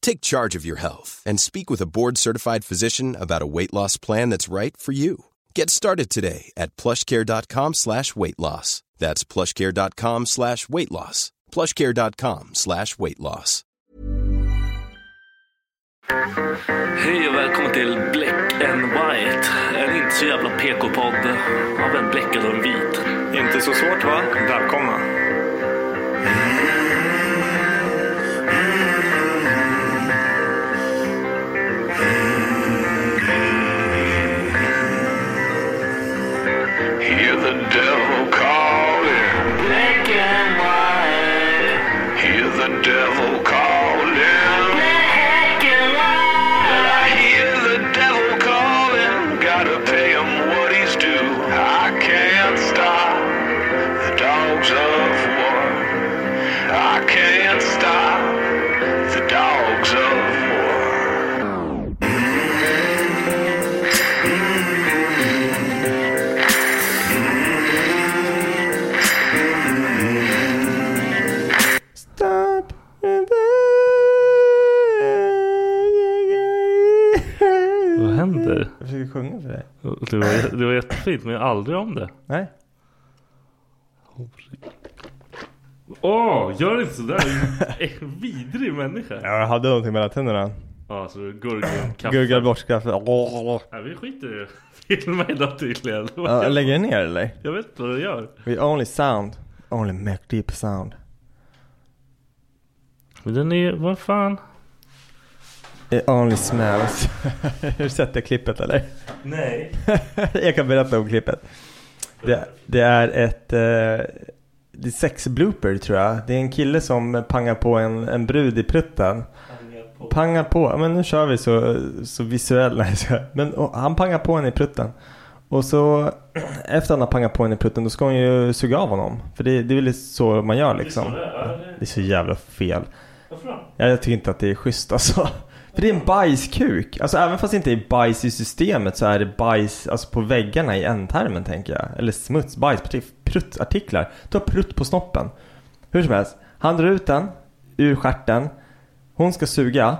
Take charge of your health and speak with a board-certified physician about a weight loss plan that's right for you. Get started today at plushcare.com slash weight loss. That's plushcare.com slash weight loss. plushcare.com slash weight loss. Hej och välkommen till Black and White. En inte så jävla PK-podd av en bläckad och en vit. Inte så svårt va? Välkomna. Hear the devil calling. Black and white. Hear the devil calling. Black and white. I hear the devil calling. Gotta pay him what he's due. I can't stop the dogs of war. I can't stop the dogs of war. Vad händer? Jag försöker sjunga för dig. Det var, det var jättefint men jag har aldrig om det. Nej? Åh, gör inte sådär. Du är En vidrig människa. Jag hade någonting mellan tänderna. Ja, så du gurglar kaffe. Gurglade bort kaffe. Åh. Nej, vi skiter i det. Filma idag tydligen. Ja, Lägger du ner eller? Jag vet inte vad du gör. We only sound. Only make deep sound. Men den är vad fan? It only smells. Har du sett det klippet eller? Nej. Jag kan berätta om klippet. Det, det är ett... Eh, det är sex blooper tror jag. Det är en kille som pangar på en, en brud i prutten. Pangar på, ja, men nu kör vi så, så visuellt. Nej, så. Men och, han pangar på henne i prutten. Och så efter han har pangat på henne i prutten då ska hon ju suga av honom. För det, det är väl så man gör liksom. Det är så jävla fel. Ja, jag tycker inte att det är schysst alltså. För det är en bajskuk. Alltså även fast det inte är bajs i systemet så är det bajs alltså, på väggarna i ändtarmen tänker jag. Eller smuts, bajs, pruttartiklar. Du har prutt på snoppen. Hur som helst, han drar ut den ur stjärten. Hon ska suga.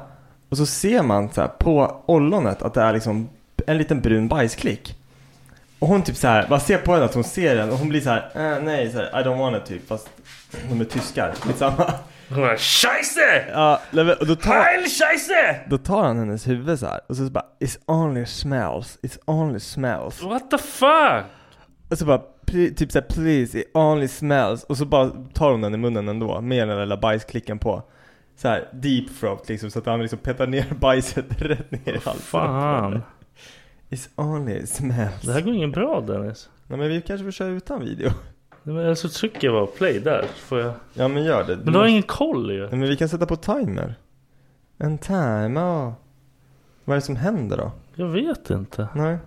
Och så ser man så här, på ollonet att det är liksom en liten brun bajsklick. Och hon typ så här, man ser på henne att hon ser den och hon blir så här, eh, nej, så här, I don't want it typ. Fast de är tyskar, skitsamma. Hon bara, Scheisse! Ja, nej, men- och då tar... Heil Scheisse! Då tar han hennes huvud så här och så bara It's only smells, it's only smells What the fuck? Och så bara "Pl- typ såhär please, it only smells Och så bara tar hon den i munnen ändå med den lilla bajsklicken på så här deep throat liksom så att han liksom petar ner bajset rätt ner i halsen Fan. It's only smells Det här går ingen bra Dennis. Nej men vi kanske får köra utan video Nej, men Alltså trycker jag bara play där så får jag. Ja men gör det Men du har ingen koll ju. Nej men vi kan sätta på timer En timer Vad är det som händer då? Jag vet inte. Nej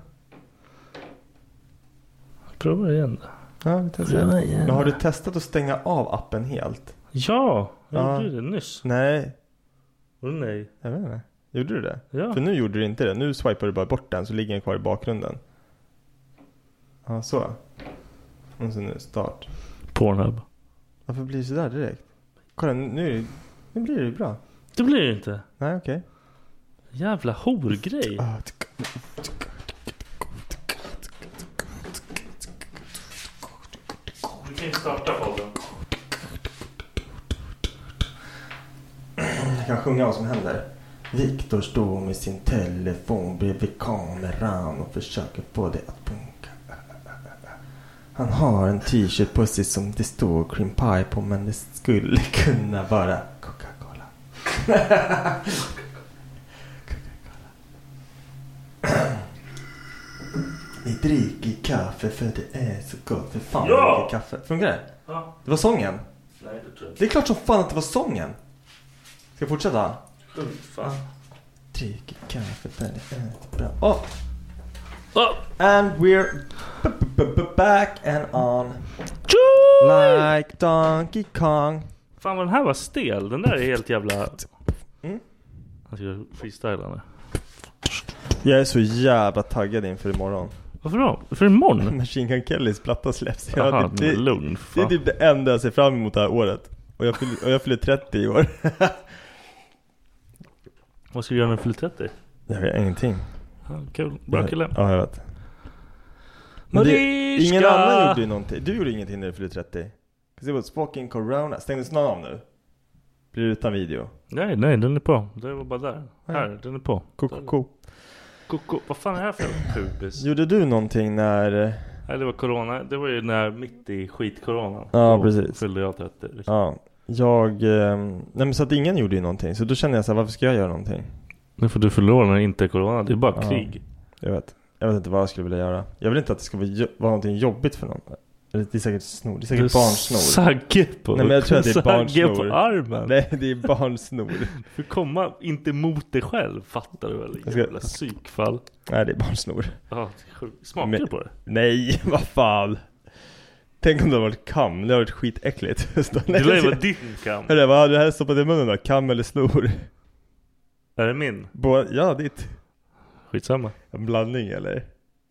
Prova igen då. Ja, vi testar. Men har du testat att stänga av appen helt? Ja, jag Ja. gjorde det nyss. Nej, Åh nej. jag vet inte. Gjorde du det? Ja. För nu gjorde du inte det. Nu swipar du bara bort den så ligger den kvar i bakgrunden. Ja, så. Och så nu start. Pornhub. Varför blir det sådär direkt? Kolla, nu, är det- nu blir det ju bra. Det blir det inte. Nej, okej. Jävla horgrej. Ah, Du kan ju starta podden. Jag kan sjunga vad som händer. Viktor står med sin telefon bredvid kameran och försöker få det att funka. Han har en t-shirt på sig som det står cream pie på men det skulle kunna vara Coca-Cola. Coca-Cola. Vi dricker kaffe för det är så gott. För fan Ja! jag dricker kaffe. Funkar det? Ja. Det var sången. Nej, det tror jag Det är klart som fan att det var sången. Ska jag fortsätta? inte. Fan. Dricker kaffe för det är inte bra. Oh, Ah. Oh. and we're b- b- b- back and on. Tjo! Like Donkey Kong. Fan vad den här var stel. Den där är helt jävla... Mm. Han ska freestyla nu. Jag är så jävla taggad inför imorgon. Varför då? För imorgon? Machine Gun Kellys platta släpps. Jag- Jaha, det, men det, lugn. det är Fan. typ det enda jag ser fram emot det här året. Och jag fyller, och jag fyller 30 i år. Vad ska du göra när du fyller 30? Jag vet ingenting. Ja, Kul. Bra kille. Ja, jag vet. Men det- Mariska! Ingen annan gjorde ju någonting. Du gjorde ingenting när du fyllde 30. 'Cause it was fucking corona. Stängdes någon av nu? Blir det utan video? Nej, nej, den är på. Det var bara där. Här, den är på. Koko. Koko. Vad fan är det här för jävla pubis? Gjorde du någonting när... eh, Nej, det var corona. Det var ju när mitt i skitcoronan. Ja, Då precis. fyllde jag 30. Liksom. Ja. Jag... ehm, Nej men så att ingen gjorde ju någonting. Så då kände jag så här, varför ska jag göra någonting? Nu får du fylla år när det inte är corona. Det är bara Ja. krig. Jag vet. Jag vet inte vad jag skulle vilja göra. Jag vill inte att det ska vara, jo- vara någonting jobbigt för någon. Eller det är säkert snor. Det är säkert barnsnor. Sagge på, Nej, men jag tror att det är sagge barnsnor. på armen. Nej, det är barnsnor. Du får komma inte mot dig själv. Fattar du väl? Jag ska- Jävla psykfall. Nej, det är barnsnor. Ja, det är sjukt. Smakar Men- du på det? Nej, vad fan. Tänk om det hade varit kam. Det hade varit skitäckligt. Det lär ju vara din kam. Hörru, vad hade du helst stoppat i munnen då? Kam eller snor? Är det min? Bå- ja, ditt. Skitsamma. En blandning eller?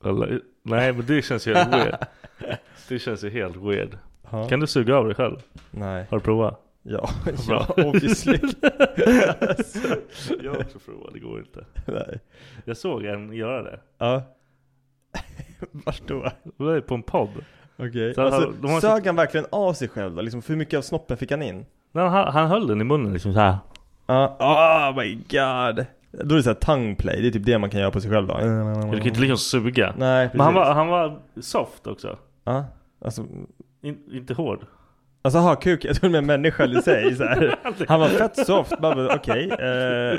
Eller, nej men det känns ju helt weird. Det känns ju helt weird. Ja. Kan du suga av dig själv? Nej. Har du provat? Ja, Bra. ja obviously. Jag har också provat, det går inte. Nej. Jag såg en göra det. Ja. Vart då? Det var ju på en podd. Okej. Så Alltså, han- de har- sög han verkligen av sig själv då? Liksom, för hur mycket av snoppen fick han in? Nej, han, han höll den i munnen liksom såhär. Ja. oh my god. Då är det såhär tongue play. Det är typ det man kan göra på sig själv då. Du kan inte liksom suga. Nej, precis. men han var, han var soft också. Ja. Alltså, In, inte hård. Alltså ha kuk, jag trodde med människan i sig så här. Han var fett soft, man bara okej, eh,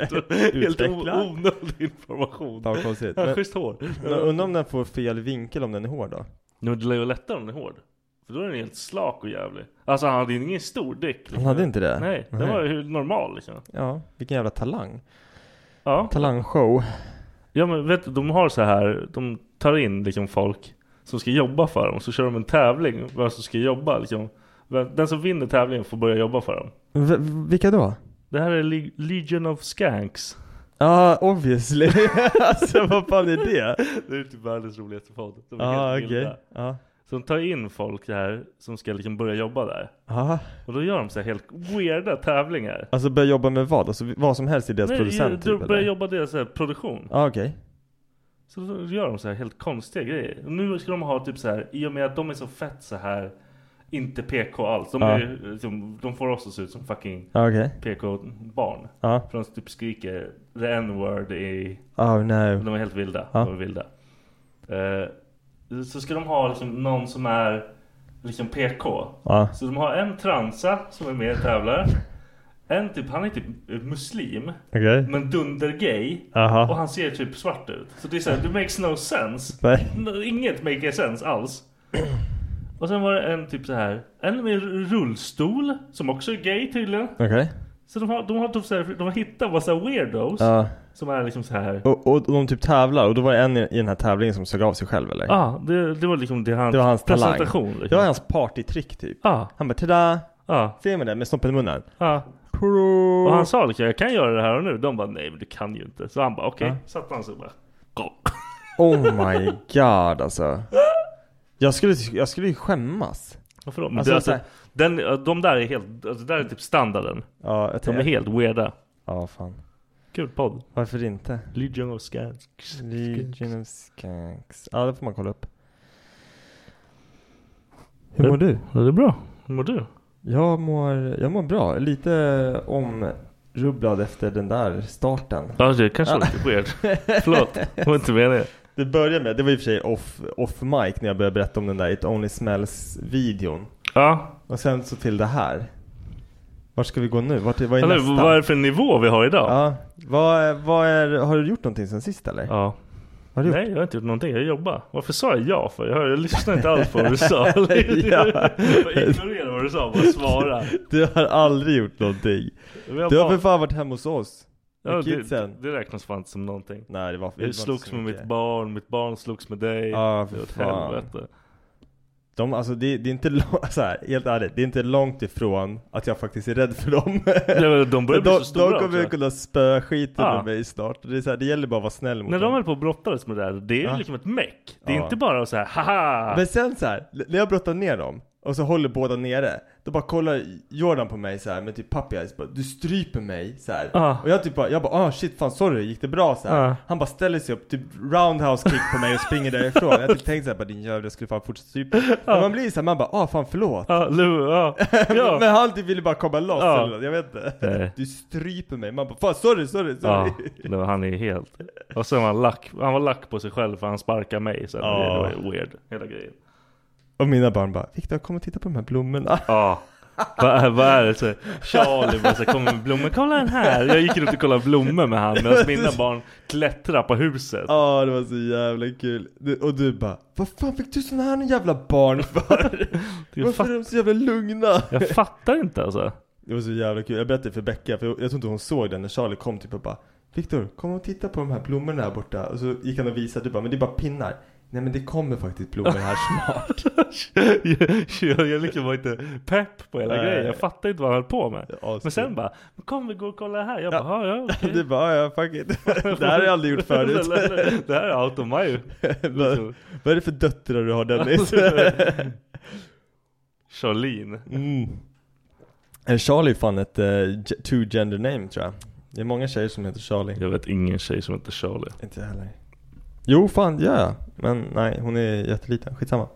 Alltså- Helt o- utveckla onödig information. Fan vad konstigt Ja, Men schysst hår. men undrar om den får fel vinkel om den är hård då? Nej, men det lär ju vara lättare om den är hård. För då är den helt slak och jävlig. Alltså han hade ju ingen stor dick. liksom. Han hade inte det? Nej, den var ju normal liksom. Ja, vilken jävla talang Ja. Talangshow Ja men vet du, de har så här, de tar in liksom folk som ska jobba för dem, så kör de en tävling vem som ska jobba liksom. Vem- Den som vinner tävlingen får börja jobba för dem. v- Vilka då? Det här är Le- Legion of Skanks. Ja, obviously Alltså vad fan är det? Det är typ världens roligaste podd. De är Ja, helt Ah, okej vilda. Ja, Så de tar in folk där som ska liksom börja jobba där. Ja. Och då gör de så här helt weirda tävlingar. alltså börja jobba med vad? Alltså vad som helst i deras producent de typ börjar eller? jobba deras så här produktion. Ja, okej Så då gör de så här helt konstiga grejer. Nu ska de ha typ så här, i och med att de är så fett så här inte PK alls. De, Ja. är, liksom, de får oss att se ut som fucking Ja, okej PK-barn. Ja, För de typ skriker the n-word i... oh no De är helt vilda. Ja. De är vilda. Eh, så ska de ha liksom någon som är liksom PK. Ja, Så de har en transa som är med och tävlar. En typ, han är typ eh, muslim. okej Men dundergay. Och Jaha han ser typ svart ut. Så det är såhär, det makes no sense. Nej N- Inget make sense alls. Och sen var det en typ så här En med rullstol som också är gay tydligen. Okej Så de har, de har typ så här, de har hittat massa weirdos. Ja, Som är liksom så här. Och, och de typ tävlar och då var det en i i den här tävlingen som sög av sig själv eller? Ja, ah, det, det var liksom det hans, Det var hans talang. presentation. Liksom. Ah, Det var hans partytrick typ. Ja, Han bara tada! ja, Ser man det? Med snoppen i munnen. ja. Pro. ah. Och han sa liksom jag kan göra det här och nu. De bara nej men du kan ju inte. Så han bara okej. Ja. Satte han sig och bara go. Oh my god alltså. Jag skulle, jag skulle ju skämmas. Varför då? Men Alltså, det, alltså, så här- den, de där är helt, alltså, det där är typ standarden. Ja, jag De är tänker- helt weirda. Ja, fan. Kul podd. Varför inte? Legion of Skanks. Legion of Skanks. Ja, det får man kolla upp. Hur mår du? Ja, det är bra. Hur mår du? Jag mår, jag mår bra. Lite omrubblad efter den där starten. Ja, det kanske var lite weird. Förlåt, det var inte meningen. Det började med, det var i och för sig off, off mic när jag började berätta om den där It Only Smells-videon. Ja, Och sen så till det här. Vart ska vi gå nu? Vart, är- vad är eller nästa? vad är det för nivå vi har idag? Ja, vad, är- vad är, har du gjort någonting sen sist eller? Ja. Har du gjort? Nej, jag har inte gjort någonting. Jag jobbar. Varför sa jag ja? För jag, hör- jag lyssnade inte alls på vad du sa. Jag ignorerade vad du sa. Bara svara. Du har aldrig gjort någonting. Vi har Du har bara- för fan varit hemma hos oss. med ja, det, kidsen. det räknas fan inte som någonting. Nej det var det var Jag inte så slogs med mycket. mitt barn, mitt barn slogs med dig. Ja, det för var ett fan. helvete. De, alltså det, det är inte långt, så här, helt ärligt, det är inte långt ifrån att jag faktiskt är rädd för dem. Nej, men de börjar bli de, så stora de kommer också. ju kunna spöa skiten Ja. ur mig snart. Det, är så här, det gäller bara att vara snäll mot När de dem. höll på och brottades med det där, det är ju Ja. liksom ett meck. Det är Ja. inte bara så här, haha! Men sen så här, när jag brottar ner dem och så håller båda nere. Då bara kollar Jordan på mig så här med typ puppy eyes, bara, du stryper mig så här. Ja. Och jag typ bara, jag bara ah shit fan sorry, gick det bra så här. Ja. Han bara ställer sig upp, typ roundhouse kick på mig och springer därifrån. jag typ tänkte så här, bara din jävel jag skulle fan fortsätta strypa. Ah. Men man blir så här, man bara ah fan förlåt. Ja, lu, ja. ja. Men han typ ville bara komma loss Ja. eller något, jag vet inte. Nej. Ah. Du stryper mig, man bara fan sorry, sorry, sorry. Ja, det var, han är helt... Och sen var han lack. Han var lack på sig själv för han sparkade mig sen. Ja. Det var ju weird, hela grejen. Och mina barn bara, Viktor kom och titta på de här blommorna. Ja. Vad är- vad är det? Så, Charlie bara så här, kommer med blommor. Kolla den här! Jag gick runt och kollade blommor med han medan mina barn klättrade på huset. Ja, det var så jävla kul. Du, och du bara, vad fan fick du såna här jävla barn för? Jag, Varför fatt, är de så jävla lugna? jag fattar inte alltså. Det var så jävla kul. Jag berättade för Becka, för jag, jag tror inte hon såg den när Charlie kom typ och bara, Viktor, kom och titta på de här blommorna här borta. Och så gick han och visade, du bara, men det är bara pinnar. Nej men det kommer faktiskt blommor här snart. jag, jag, jag liksom var inte pepp på hela Nej. grejen. Jag fattade inte vad han höll på med. Ja, Men sen bara, "Men kom vi går och kollar här. Jag bara, ja, ja okej. Du bara, ja, fuck it. Det här har jag aldrig gjort förut. det här är out of my... Vad- Vad är det för döttrar du har Dennis? Charlene. Mm. Eh, Charlie är fan ett uh, two gender name tror jag. Det är många tjejer som heter Charlie. Jag vet ingen tjej som heter Charlie. Inte jag heller. Jo fan, ja ja. Men nej, hon är jätteliten. Skitsamma.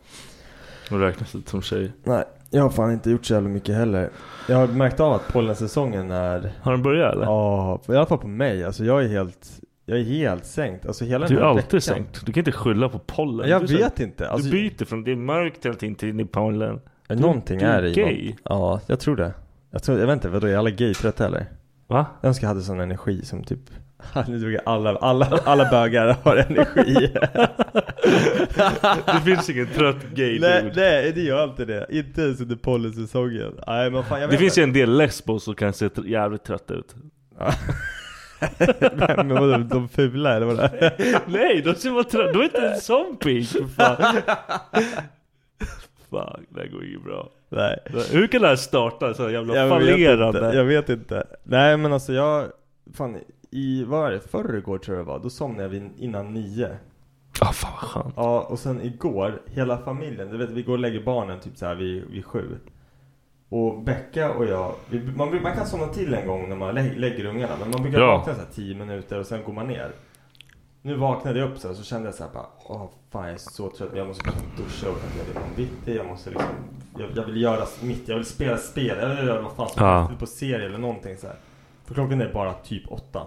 Hon räknas inte som tjej. Nej, jag har fan inte gjort så jävla mycket heller. Jag har märkt av att pollensäsongen är, Har den börjat eller? ja, i alla fall på mig. Alltså jag är helt, jag är helt sänkt. Alltså hela Du den är här alltid veckan. sänkt. Du kan inte skylla på pollen. Jag du, är så- vet inte. Alltså, du byter från det är mörkt hela tiden till in i pollen. någonting du är är i gay. något. Ja, jag tror det. Jag, tror, jag vet inte, vadå är alla gay-trötta eller? Va? Jag önskar jag hade sån energi som typ Nu drog jag alla, alla, alla bögar har energi Det finns ingen trött gay nej, dude. nej, det gör inte det Inte ens under pollensäsongen Nej men fan jag Det vet finns ju inte. en del lesbos som kan se tr- jävligt trötta ut. Men vadå, de fula eller vad det är? Nej, de ser bara trötta Du är inte en sån pigg för fan. Fuck, det här går ju bra. Nej Hur kan det här starta så här jävla Vet fallerande? inte, jag vet inte Nej men alltså jag Fan i, vad var det? Förrgår tror jag det var Då somnade jag vid, innan nio Ah fan vad skönt. Ja och sen igår Hela familjen, du vet vi går och lägger barnen typ så här vid, vid sju och Becka och jag, vi, man, brukar- man kan somna till en gång när man lä, lägger ungarna men man brukar Ja. vakna så här 10 minuter och sen går man ner. Nu vaknade jag upp så här, så kände jag så här bara, åh fan jag är så trött, jag måste gå och duscha och jag vill ha en bitti, jag måste liksom, jag, jag vill göra mitt, jag vill spela spel, jag vill göra vad fan som Ja. helst, titta på serie eller någonting så här. För klockan är bara typ åtta.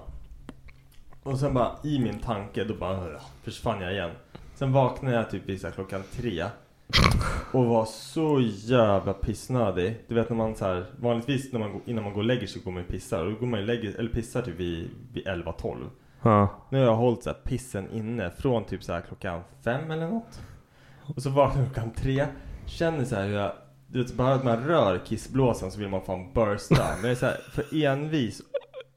Och sen bara i min tanke, då bara "Ugh", försvann jag igen. Sen vaknade jag typ vid så här klockan tre. Och var så jävla pissnödig. Du vet när man så här, vanligtvis när man, går- innan man går och lägger sig går man och pissar. Och då går man och lägger, eller pissar typ vid, vid 11-12. Ja. Nu har jag hållit så här pissen inne från typ så här klockan fem eller något. Och så vaknar jag klockan tre. Känner så här hur jag, du vet bara att man rör kissblåsan så vill man fan bursta. Men jag är så här för envis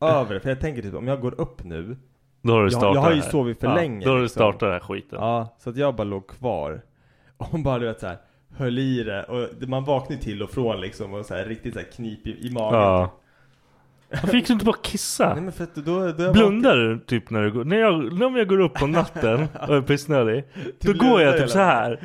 över det. För jag tänker typ om jag går upp nu Då har du startat jag, jag har det ju här. sovit för ja, länge. Då har du liksom. startat den här skiten. Ja, så att jag bara låg kvar. Och hon bara du vet så här, höll i det. Och det- man vaknar ju till och från liksom och så här riktigt så här knip i, i magen. Ja. Varför fick du inte bara Nej kissa? men för att då, då är jag Blundar du typ när du går? När jag, när jag går upp på natten och är pissnödig. Då går blundar jag typ hela så här.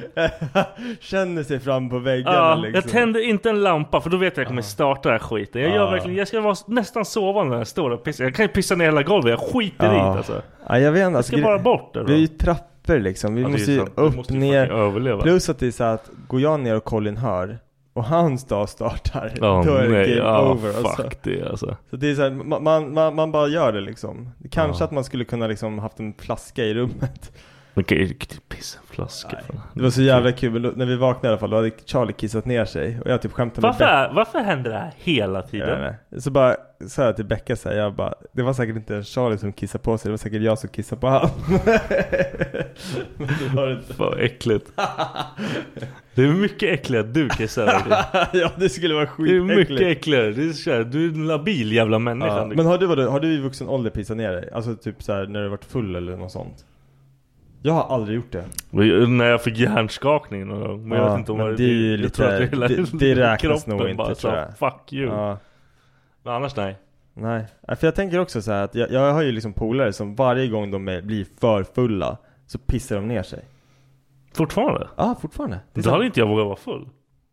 vaken. Känner sig fram på väggarna Ja, liksom. jag tänder inte en lampa för då vet jag att jag kommer starta den här skiten. Jag gör verkligen, jag ska vara nästan sovande när jag står och pissar. Jag kan ju pissa ner hela golvet, jag skiter i Ja. det alltså. Ja, jag vet inte. Jag Alltså, ska bara bort där vi är ju då. trappor liksom. Vi Ja, det är måste ju sant. Du upp, måste ju ner. fucking överleva. Plus att det är så att går jag ner och Colin hör och hans dag startar, Ja, då är det nej, game ja, over. Alltså. fuck det alltså. Så det är så här, ma- man, man, man bara gör det liksom. Kanske att man skulle kunna liksom haft en flaska i rummet. Man kan ju pissa en flaska. fan. Det var så jävla kul, men då- när vi vaknade i alla fall, då hade Charlie kissat ner sig. Och jag typ skämtade Varför, med är- varför händer det här hela tiden? Becka. Så bara sa jag till Becka så här, jag bara, det var säkert inte Charlie som kissade på sig, det var säkert jag som kissade på han. men det var det inte. Fan vad äckligt. Det är mycket äckligare att du kissar. Robin. ja, det skulle vara Det är mycket skitäckligt. äckligare. Det är så här, du är en labil jävla människa. liksom. Ja, Du- men har du, vadå, har du i vuxen ålder pissat ner dig? Alltså typ så här när du varit full eller något sånt? Jag har aldrig gjort Mm. det. eh, När jag fick hjärnskakning någon gång. Men jag Ja, vet inte om men vad det är ju jag lite- tror att hela det- det räknas kroppen nog inte, bara tror sa, jag. Fuck you. Ja, Men annars nej. nej. Ja, För jag tänker också så här att jag, jag har ju liksom polare som varje gång de är, blir för fulla så pissar de ner sig. Fortfarande? Ja, fortfarande. Det Då är så- hade inte jag vågat vara full.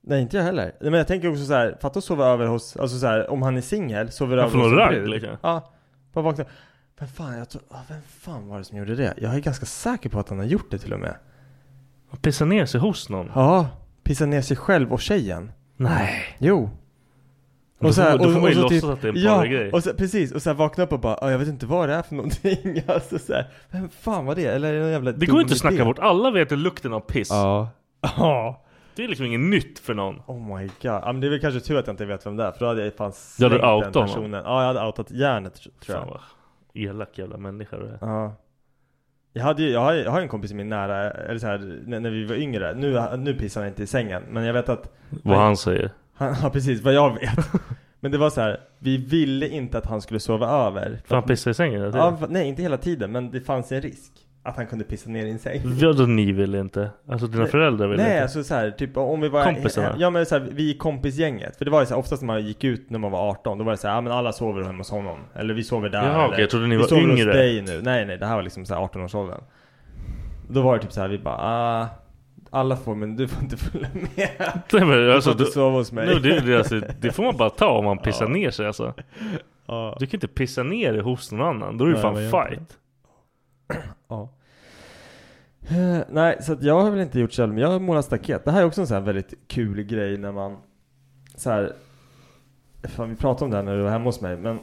Nej inte jag heller. Nej, Men jag tänker också så här, fatta att sova över hos, alltså så här, om han är singel, sover över får hos någon en ragg, brud. liksom. Ja, bara vakna. Men fan, jag tror, ah, vem fan var det som gjorde det? Jag är ganska säker på att han har gjort det till och med. Man pissar ner sig hos någon. Ja, pissa ner sig själv och tjejen. Nej. Jo. Då får- då får man ju så typ- låtsas att det är en ja, pargrej. och så, precis. Och sen vakna upp och bara, "Ah, jag vet inte vad det är för någonting. Alltså så här, vem fan var det? Eller är det någon jävla Det går dum inte att snacka idé? bort. Alla vet det lukten av piss. Ja. Ja. Det är liksom inget nytt för någon. Oh my god. Ja, men det är väl kanske tur att jag inte vet vem det är, för då hade jag fan Du slängt hade den outat honom. personen. Ja, jag hade outat järnet tr- tror Fan jag. vad elak jävla människa du är. Ja. Jag, hade ju, jag, har, ju- jag har ju en kompis i min nära, eller så här, när, när vi var yngre. Nu, nu pissar han inte i sängen, men jag vet att Vad han säger. han, ja precis vad jag vet. men det var så här, vi ville inte att han skulle sova över. För han pissar i sängen hela tiden. Ja, fa- nej, inte hela tiden, men det fanns en risk att han kunde pissa ner i en säng. Vadå ni vill inte? Alltså dina föräldrar Mm. vill Nej, inte? alltså så här, typ om vi var... Kompisarna? Ja, men så här, vi i kompisgänget. För det var ju så här, oftast när man gick ut när man var 18, då var det så här, ja men alla sover hemma hos honom. Eller vi sover där. Jaha, eller, okej, jag trodde ni vi var sover yngre. hos dig nu. Nej, nej, det här var liksom så här 18-årsåldern. Då var det typ så här, vi bara, ah, alla får men du får inte följa med. Nej, men, Du får alltså, inte du, sova hos mig. nu, det, det, alltså, det får man bara ta om man pissar ner sig alltså. Ja. Du kan inte pissa ner dig hos någon annan. Då är det Nej, fan men jag vet fight. Ja. Eh, Nej, så att jag har väl inte gjort själv, men jag har målat staket. Det här är också en sån här väldigt kul grej när man så här. Fan, vi pratade om det här när du var hemma hos mig, men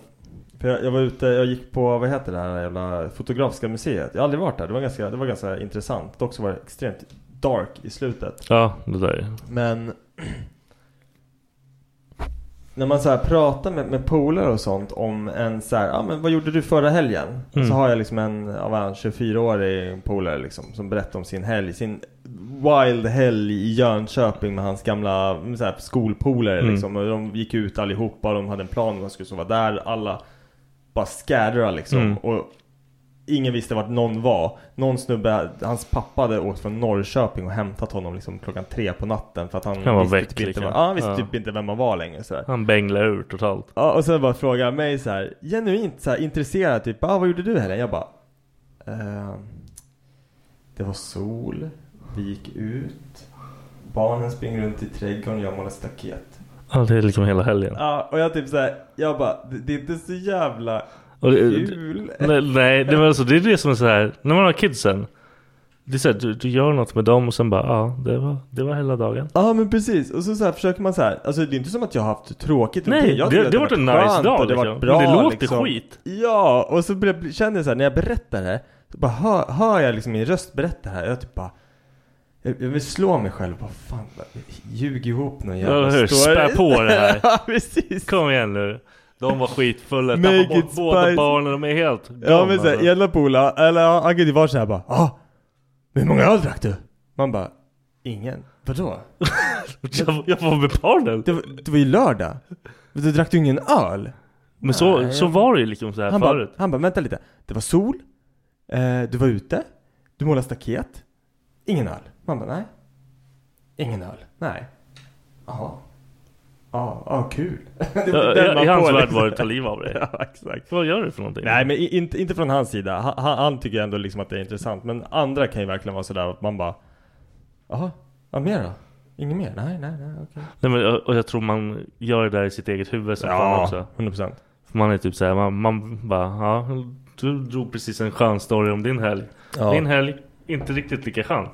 för jag, jag var ute, jag gick på, vad heter det här jävla Fotografiska museet? Jag har aldrig varit där, det var ganska, det var ganska intressant. Dock så var det extremt dark i slutet. Ja, det där är- Men när man så här pratar med, med polare och sånt om en så här, ja ah, men vad gjorde du förra helgen? Mm. Så har jag liksom en, av en 24-årig polare liksom som berättar om sin helg, sin wild helg i Jönköping med hans gamla mm, så här, skolpolare Mm. liksom. Och de gick ut allihopa, de hade en plan om de skulle sova där, alla bara scattera liksom. Mm. Och ingen visste vart någon var. Någon snubbe, hans pappa hade åkt från Norrköping och hämtat honom liksom klockan tre på natten för att han, Han var visste, väck, typ, inte, liksom. var, ja, han visste Ja. typ inte vem man var längre. Sådär. Han bänglar ur totalt. Ja, och sen bara frågade han mig så här, genuint så här, intresserad typ, ah, vad gjorde du i helgen? Jag bara, ehm, det var sol, vi gick ut, barnen springer runt i trädgården, jag målar staket. Ja, det är liksom hela helgen. Ja, och jag typ så här, jag bara, det, det är inte så jävla Och det, kul. nej, nej, det, var alltså, det är det som är så här. När man har kidsen. Det är så här, du, du gör något med dem och sen bara ja, det var, det var hela dagen. Ja men precis, och så, så här försöker man så här. Alltså det är inte som att jag har haft tråkigt Nej, utan jag tycker det- att det har varit en nice skönt dag, och det har liksom. varit bra, Men det låter liksom. skit. Ja, och så blir- känner jag så här, när jag berättar det så bara hör, hör jag liksom min röst berätta det här Jag typ bara jag jag vill slå mig själv bara fan, bara, ljug ihop någon Ja, jävla hur? story. Spä på det här. Ja precis! Kom igen nu. De var skitfulla. Make Tappade bort it båda spicy. barnen. De är helt Ja men alltså. såhär, ena pola, eller ja, han kan ju vara såhär bara ah, hur många öl drack du? Man bara, ingen, vadå? jag, jag var med barnen. Det var, det var ju lördag, du drack du ingen öl? Men så, Nej, så jag- var det ju liksom så här Han bara, förut. han bara, vänta lite. Det var sol, Eh, du var ute, du målade staket, ingen öl. Man bara, nej. Ingen öl, nej. Jaha. Ja, ja, kul. Det var Ja, den man I får, hans värld liksom. var det ta liv av dig. Ja, exakt. Vad gör du för någonting? Nej men i- inte, inte från hans sida. Han, han, han tycker ändå liksom att det är intressant. Men andra kan ju verkligen vara sådär att man bara Jaha, vad mer då? Inget mer? Nej, nej, nej, okej. Nej, men, och jag tror man gör det där i sitt eget huvud som fan också. Ja, 100%. För man är typ såhär, man, man bara, ja, du drog precis en skön story om din helg. Ja. Min helg, inte riktigt lika skön.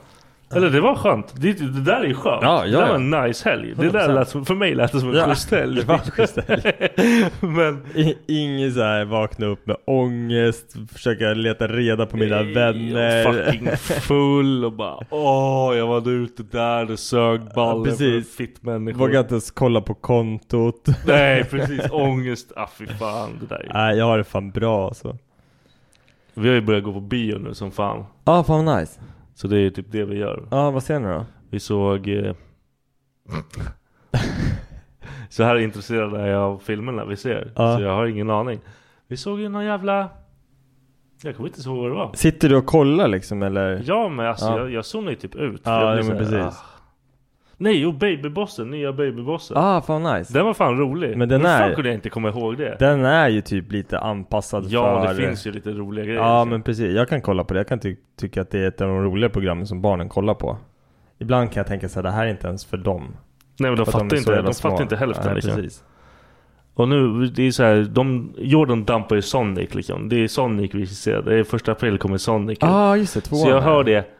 Eller det var skönt. Det, det där är ju skönt. Ja, det ja, där ja. var en nice helg. Det där 100%. lät som, för mig lät det som en Ja, schysst helg. det var en schysst Men I- Ingen såhär vakna upp med ångest, försöka leta reda på mina vänner. Jag var fucking full och bara åh jag var ute där, det sög ballen precis. för fitt människor. Vågar inte ens kolla på kontot. Nej precis, ångest, ah fy fan det där. är- Nej, jag har det fan bra alltså. Vi har ju börjat gå på bio nu som fan. Ja, ah, fan vad nice. Så det är ju typ det vi gör. Ja, ah, vad ser ni då? Vi såg... Eh... så här intresserad är jag av filmerna vi ser. Ja. Så jag har ingen aning. Vi såg ju någon jävla... Jag kommer inte ihåg vad det var. Sitter du och kollar liksom eller? Ja men alltså Ja. jag, jag zonade ju typ ut. Ja, jag blev jo, men så här, precis. "Ah." Nej jo Babybossen, nya Babybossen. Ah, fan vad nice. Den var fan rolig. Men den Hur fan är- kunde jag inte komma ihåg det? Den är ju typ lite anpassad ja för... det finns ju lite roliga grejer. Ja liksom. men precis, jag kan kolla på det. Jag kan ty- tycka att det är ett av de roligare programmen som barnen kollar på. Ibland kan jag tänka så här, det här är inte ens för dem. Nej men de För att är fattar så inte, de jävla fattar små. inte hälften Nej, liksom. precis. Och nu, det är så här, de, Jordan dampar ju Sonic liksom. Det är Sonic vi ser. Det är första april kommer Sonic ut. ah, just det, tvåan. Så jag där. hör det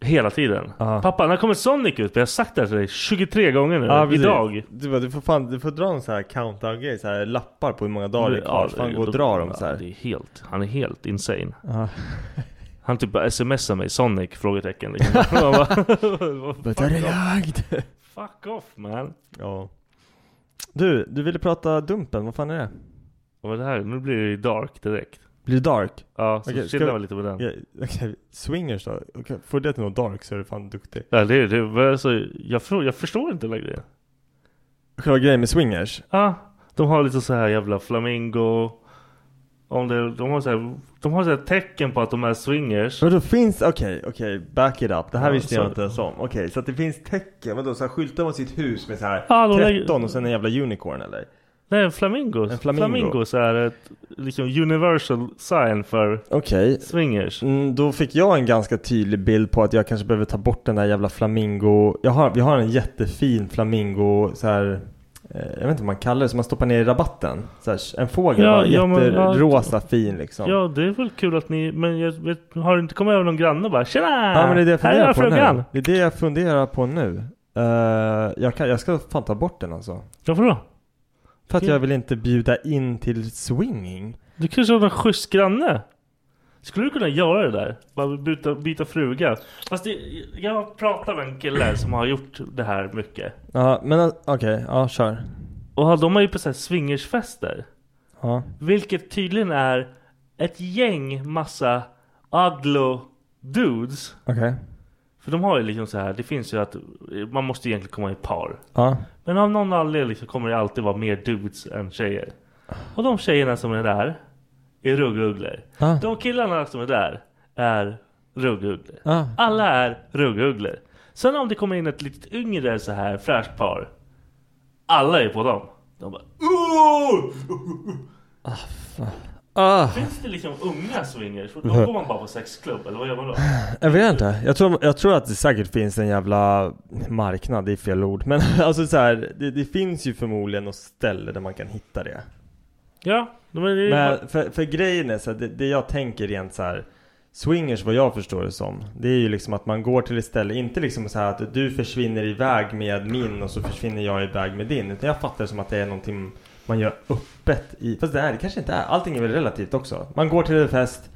hela tiden. Ja. Pappa, när kommer Sonic ut? Vi har sagt det här till dig 23 gånger nu. Ja, Ah, precis. Eh, Idag. Du, bara, du, får fan, du får dra en sån här countdown-grej, så här lappar på hur många dagar det är kvar. Så fan gå och dra dem så Ja, Det här. är helt, han är helt insane. Ja. Han typ bara smsar mig Sonic? Frågetecken. Liksom. Man bara, But are lagd? Fuck off man. Ja. Du, du ville prata Dumpen, vad fan är det? Vad var det här? Nu blir det ju dark direkt. Blir det Dark? Ja, så Okej, ska chillar vi- vi lite på den. Ja, okej. Swingers då? Okay. Får det till något Dark så är du fan duktig. Ja, det, det, var alltså, jag, förstår, jag förstår inte längre. Själva grejen med Swingers? Ja, de har lite så här jävla flamingo. Om det, de har så här, de har så här tecken på att de är swingers. Vadå finns, okej, okej, back it up. Det här Ja, visste jag så- inte ens om. Okej, så att det finns tecken, vadå? Så här skyltar man sitt hus med så här Ja, de lägger- 13 och sen en jävla unicorn eller? Nej, en flamingo. En flamingo. Flamingos är ett liksom, universal sign för Okej. swingers. Mm, då fick jag en ganska tydlig bild på att jag kanske behöver ta bort den där jävla flamingo... Jag har, vi har en jättefin flamingo så här... eh, Jag vet inte vad man kallar det, som man stoppar ner i rabatten. Så här, en fågel, Ja, ja, ja, men- jätterosa fin liksom. Ja, det är väl kul att ni... Men jag vet, har du inte kommit över någon granne och bara Tjena! Ja men det är det jag Här är funderar på frågan. nu. Det är det jag funderar på nu. Eh, jag, kan, jag ska fan ta bort den alltså. Varför då? För att jag vill inte bjuda in till swinging. Du kanske har någon schysst granne? Skulle du kunna göra det där? Bara byta, byta fruga? Fast det, jag pratar med en kille som har gjort det här mycket. Ja men eh, okej, ja kör. Och de har ju på så här swingersfester. Ja. Vilket tydligen är ett gäng massa aglo dudes. Okej. För de har ju liksom så här, det finns ju att man måste egentligen komma i par. Ja. Men av någon anledning liksom kommer det alltid vara mer dudes än tjejer. Och de tjejerna som är där är ruggugglor. Ja. De killarna som är där är ruggugglor. Ja. Alla är ruggugglor. Sen om det kommer in ett litet yngre så här fräscht par. Alla är på dem. De bara "Åh!" Ah, Finns det liksom unga swingers? Då går man bara på sexklubb eller vad gör man då? jag vet inte. Jag tror, jag tror att det säkert finns en jävla marknad, det är fel ord. Men alltså så här, det, det finns ju förmodligen något ställe där man kan hitta det. Ja, men det är Men för, för grejen är så här, det, det jag tänker rent så här. Swingers vad jag förstår det som. Det är ju liksom att man går till ett ställe. Inte liksom så här att du försvinner iväg med min och så försvinner jag iväg med din. Utan jag fattar det som att det är någonting man gör öppet i. Fast det är det kanske inte är. Allting är väl relativt också. Man går till en fest.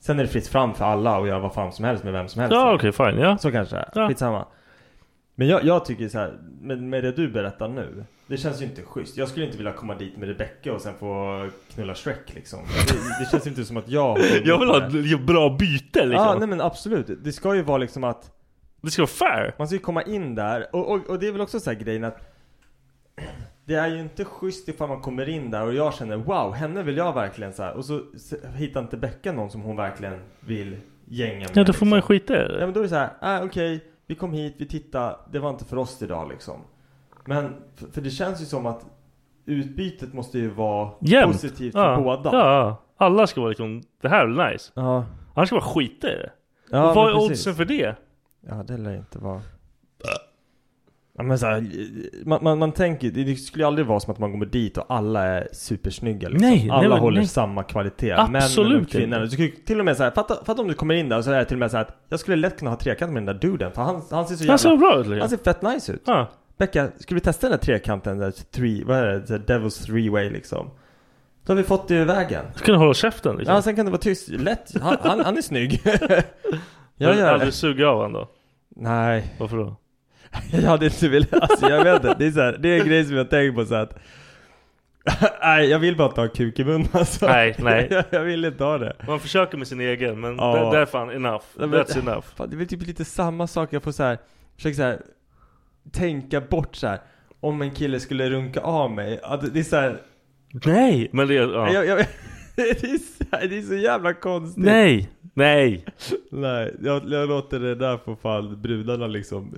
Sen är det fritt fram för alla och göra vad fan som helst med vem som helst. Ja okej fine, ja. Så kanske det är. Ja. Skitsamma. Men jag, jag tycker så här, med, med det du berättar nu. Det känns ju inte schysst. Jag skulle inte vilja komma dit med Rebecca och sen få knulla Shrek liksom. Det, det känns ju inte som att jag har Jag vill ha ett bra byte liksom. Ja, nej men absolut. Det ska ju vara liksom att Det ska vara fair. man ska ju komma in där. Och, och, och det är väl också så här grejen att Det är ju inte schysst ifall man kommer in där och jag känner wow, henne vill jag verkligen så här. Och så s- hittar inte Becka någon som hon verkligen vill gänga med. Ja, då får man ju liksom. skita i Ja det. men då är det så här, ah, okej, vi kom hit, vi tittade, det var inte för oss idag liksom. Men, för, för det känns ju som att utbytet måste ju vara Jämnt. positivt för Ja. båda. Ja, ja. Alla ska vara liksom, det här är nice. ja. Annars ska man skita i det. ja och vad men är precis. oddsen för det? Ja, det lär ju inte vara... Ja, men så här, man, man, man tänker det skulle ju aldrig vara som att man kommer dit och alla är supersnygga liksom. Nej, Alla nej, håller nej. samma kvalitet. Absolut Männen och kvinnorna. Du skulle ju till och med säga, fatta, fatta om du kommer in där och så är det till och med så här att jag skulle lätt kunna ha trekant med den där duden för han, han ser så Han ser jävla... Alltså- bra ut liksom. Han ser fett nice ut. Ja. Becka, skulle vi testa den där trekanten där, three, vad är det, The Devil's three way liksom? Då har vi fått det ur vägen. Ska kunna hålla käften liksom. Ja, sen kan det vara tyst, lätt. Han, han, han är snygg. jag jag gör det. aldrig suga av honom då. Nej. Varför då? Jag hade inte velat, alltså jag vet inte. Det är, så här, det är en grej som jag tänker på så att Nej, jag vill bara inte ha kuk i munnen alltså. Nej, nej. Jag, jag vill inte ha det. Man försöker med sin egen men Ja. där, där är fan enough. Nej, men- That's enough. Fan, det är väl typ lite samma sak, jag får så här, försöker så här, tänka bort så här. Om en kille skulle runka av mig. Ja, det- Det är så här, Nej! Men det, ja. jag, jag, det, är så här det är så jävla konstigt. Nej! Nej! nej jag, jag låter det där få fall brudarna liksom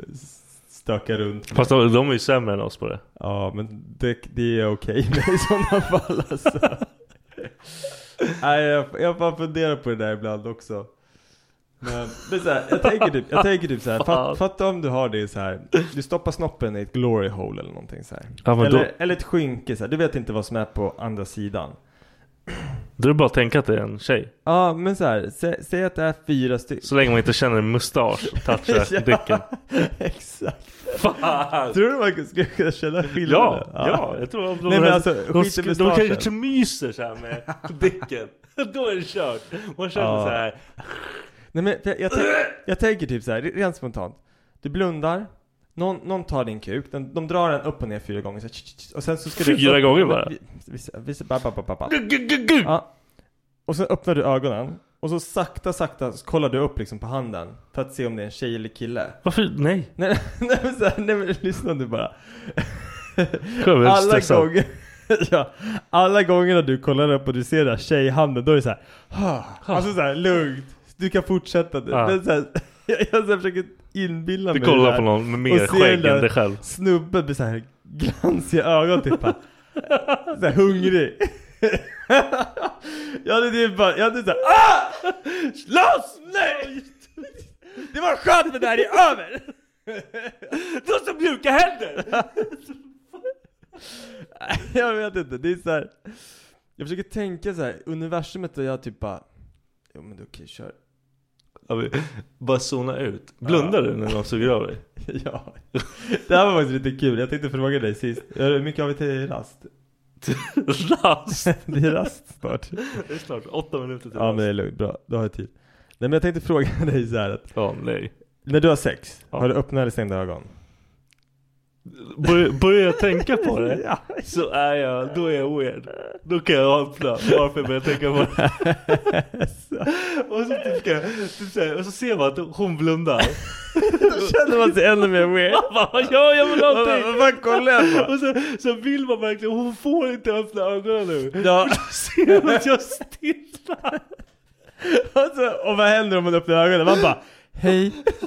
stöka runt. Fast de, de är ju sämre än oss på det. Ja, men det, det är okej med i sådana fall alltså. Nej, jag, jag bara funderar på det där ibland också. Men, men så här, jag tänker typ, jag tänker typ så här, Fan. fatt, fatta om du har det så här. Du stoppar snoppen i ett glory hole eller någonting så här. Ja, men då- eller, eller ett skynke så här. Du vet inte vad som är på andra sidan. Då är det bara att tänka att det är en tjej. Ja, men så här, sä, säg att det är fyra stycken. Så länge man inte känner en mustasch toucha dicken. Exakt. Fan! Tror du man skulle kunna känna Ja, skillnaden? ja, jag tror att de, Nej, men alltså, de, skit de, i de mustaschen. kanske inte myser såhär med dicken. Då är det kört. Man känner Ja. så här. Nej men jag, jag, tänk- jag tänker typ så här, rent spontant. Du blundar, någon, någon tar din kuk, den, de drar den upp och ner fyra gånger så här, tsch, tsch, tsch, och sen så ska du... Fyra gånger bara? Vi, vi, vi, vi, ba, ba, ba, ba, ba. Ja. Och sen öppnar du ögonen och så sakta sakta så kollar du upp liksom på handen för att se om det är en tjej eller kille. Varför? Nej. Nej, nej, men, så här, nej men lyssna nu bara. Jag blir Alla stressad. gånger, ja, alla gånger när du kollar upp och du ser den här tjejhanden, då är det så här, "Ah." alltså så här lugnt, du kan fortsätta nu. Ja. Men så här, jag, jag så här försöker inbilla Du mig det kollar här. på någon med Och mer ser skägg den än där dig själv. Snubben med så här glansiga ögon typ bara, så här hungrig. jag hade typ bara, jag hade så här, ah! Loss! Nej! Det var skönt men det här är över! Du har så mjuka händer! Jag vet inte, det är så här. Jag försöker tänka så här. universumet och jag typ bara Jo men det är okej, kör Bara zona ut. Blundar du när någon suger av dig? Ja Det här var faktiskt lite kul, jag tänkte fråga dig sist Hur mycket har vi till rast? Rast! Det är rast snart Det är snart åtta minuter till Ja men det rast. är lugnt, bra, då har jag tid Nej men jag tänkte fråga dig så här att Ja, nej. När du har sex, Ja. har du öppna eller stängda ögon? Börjar, börjar jag tänka på det Ja. så är jag, då är jag weird. Då kan jag öppna. Varför börjar jag tänka på det? Och så, typ, ska jag- typ så här, och så ser man att hon blundar. Då känner man sig ännu mer weird Vad fan gör jag med någonting? Vad fan kollar jag på? Och så, så vill man verkligen, hon får inte öppna ögonen nu. Ja, Ser man att jag stirrar? och, så, och vad händer om man öppnar ögonen? Man bara Hej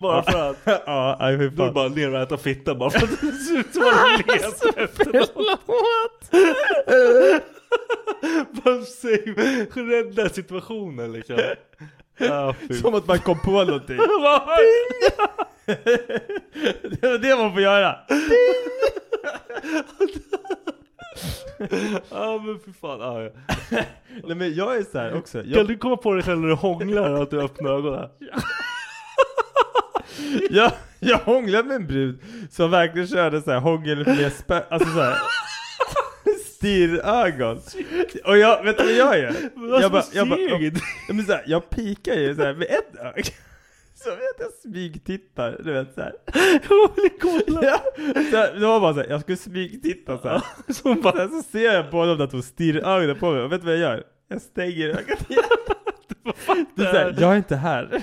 Bara för att... ja, aj, fy Då är det fan. bara ner och äta fitta bara för att det ser ut som att de letar efter något. Bara save- Rädda situationen liksom. Ja, fy Som att man kom på någonting. Vad? det var det man får göra. Ja men fy fan. Ja, ja. Nej men jag är så här också. Kan Jag, du komma på dig själv när du hånglar och att du öppnar ögonen? jag, jag hånglade med en brud som verkligen körde så här hångel med spö... Alltså så här. Stirrögon. Och jag, vet du vad jag gör? Vad Jag bara, som jag bara, steg. jag, men så här, jag pikar ju så här med ett öga. Så vet jag smygtittar, du vet såhär. Jag vill kolla. Ja, så här, det var bara såhär, jag skulle smygtitta såhär. Så, hon bara, så ser jag på dem att hon stirrar ögonen på mig och vet du vad jag gör? Jag stänger ögat igen. Det är så här, jag är inte här.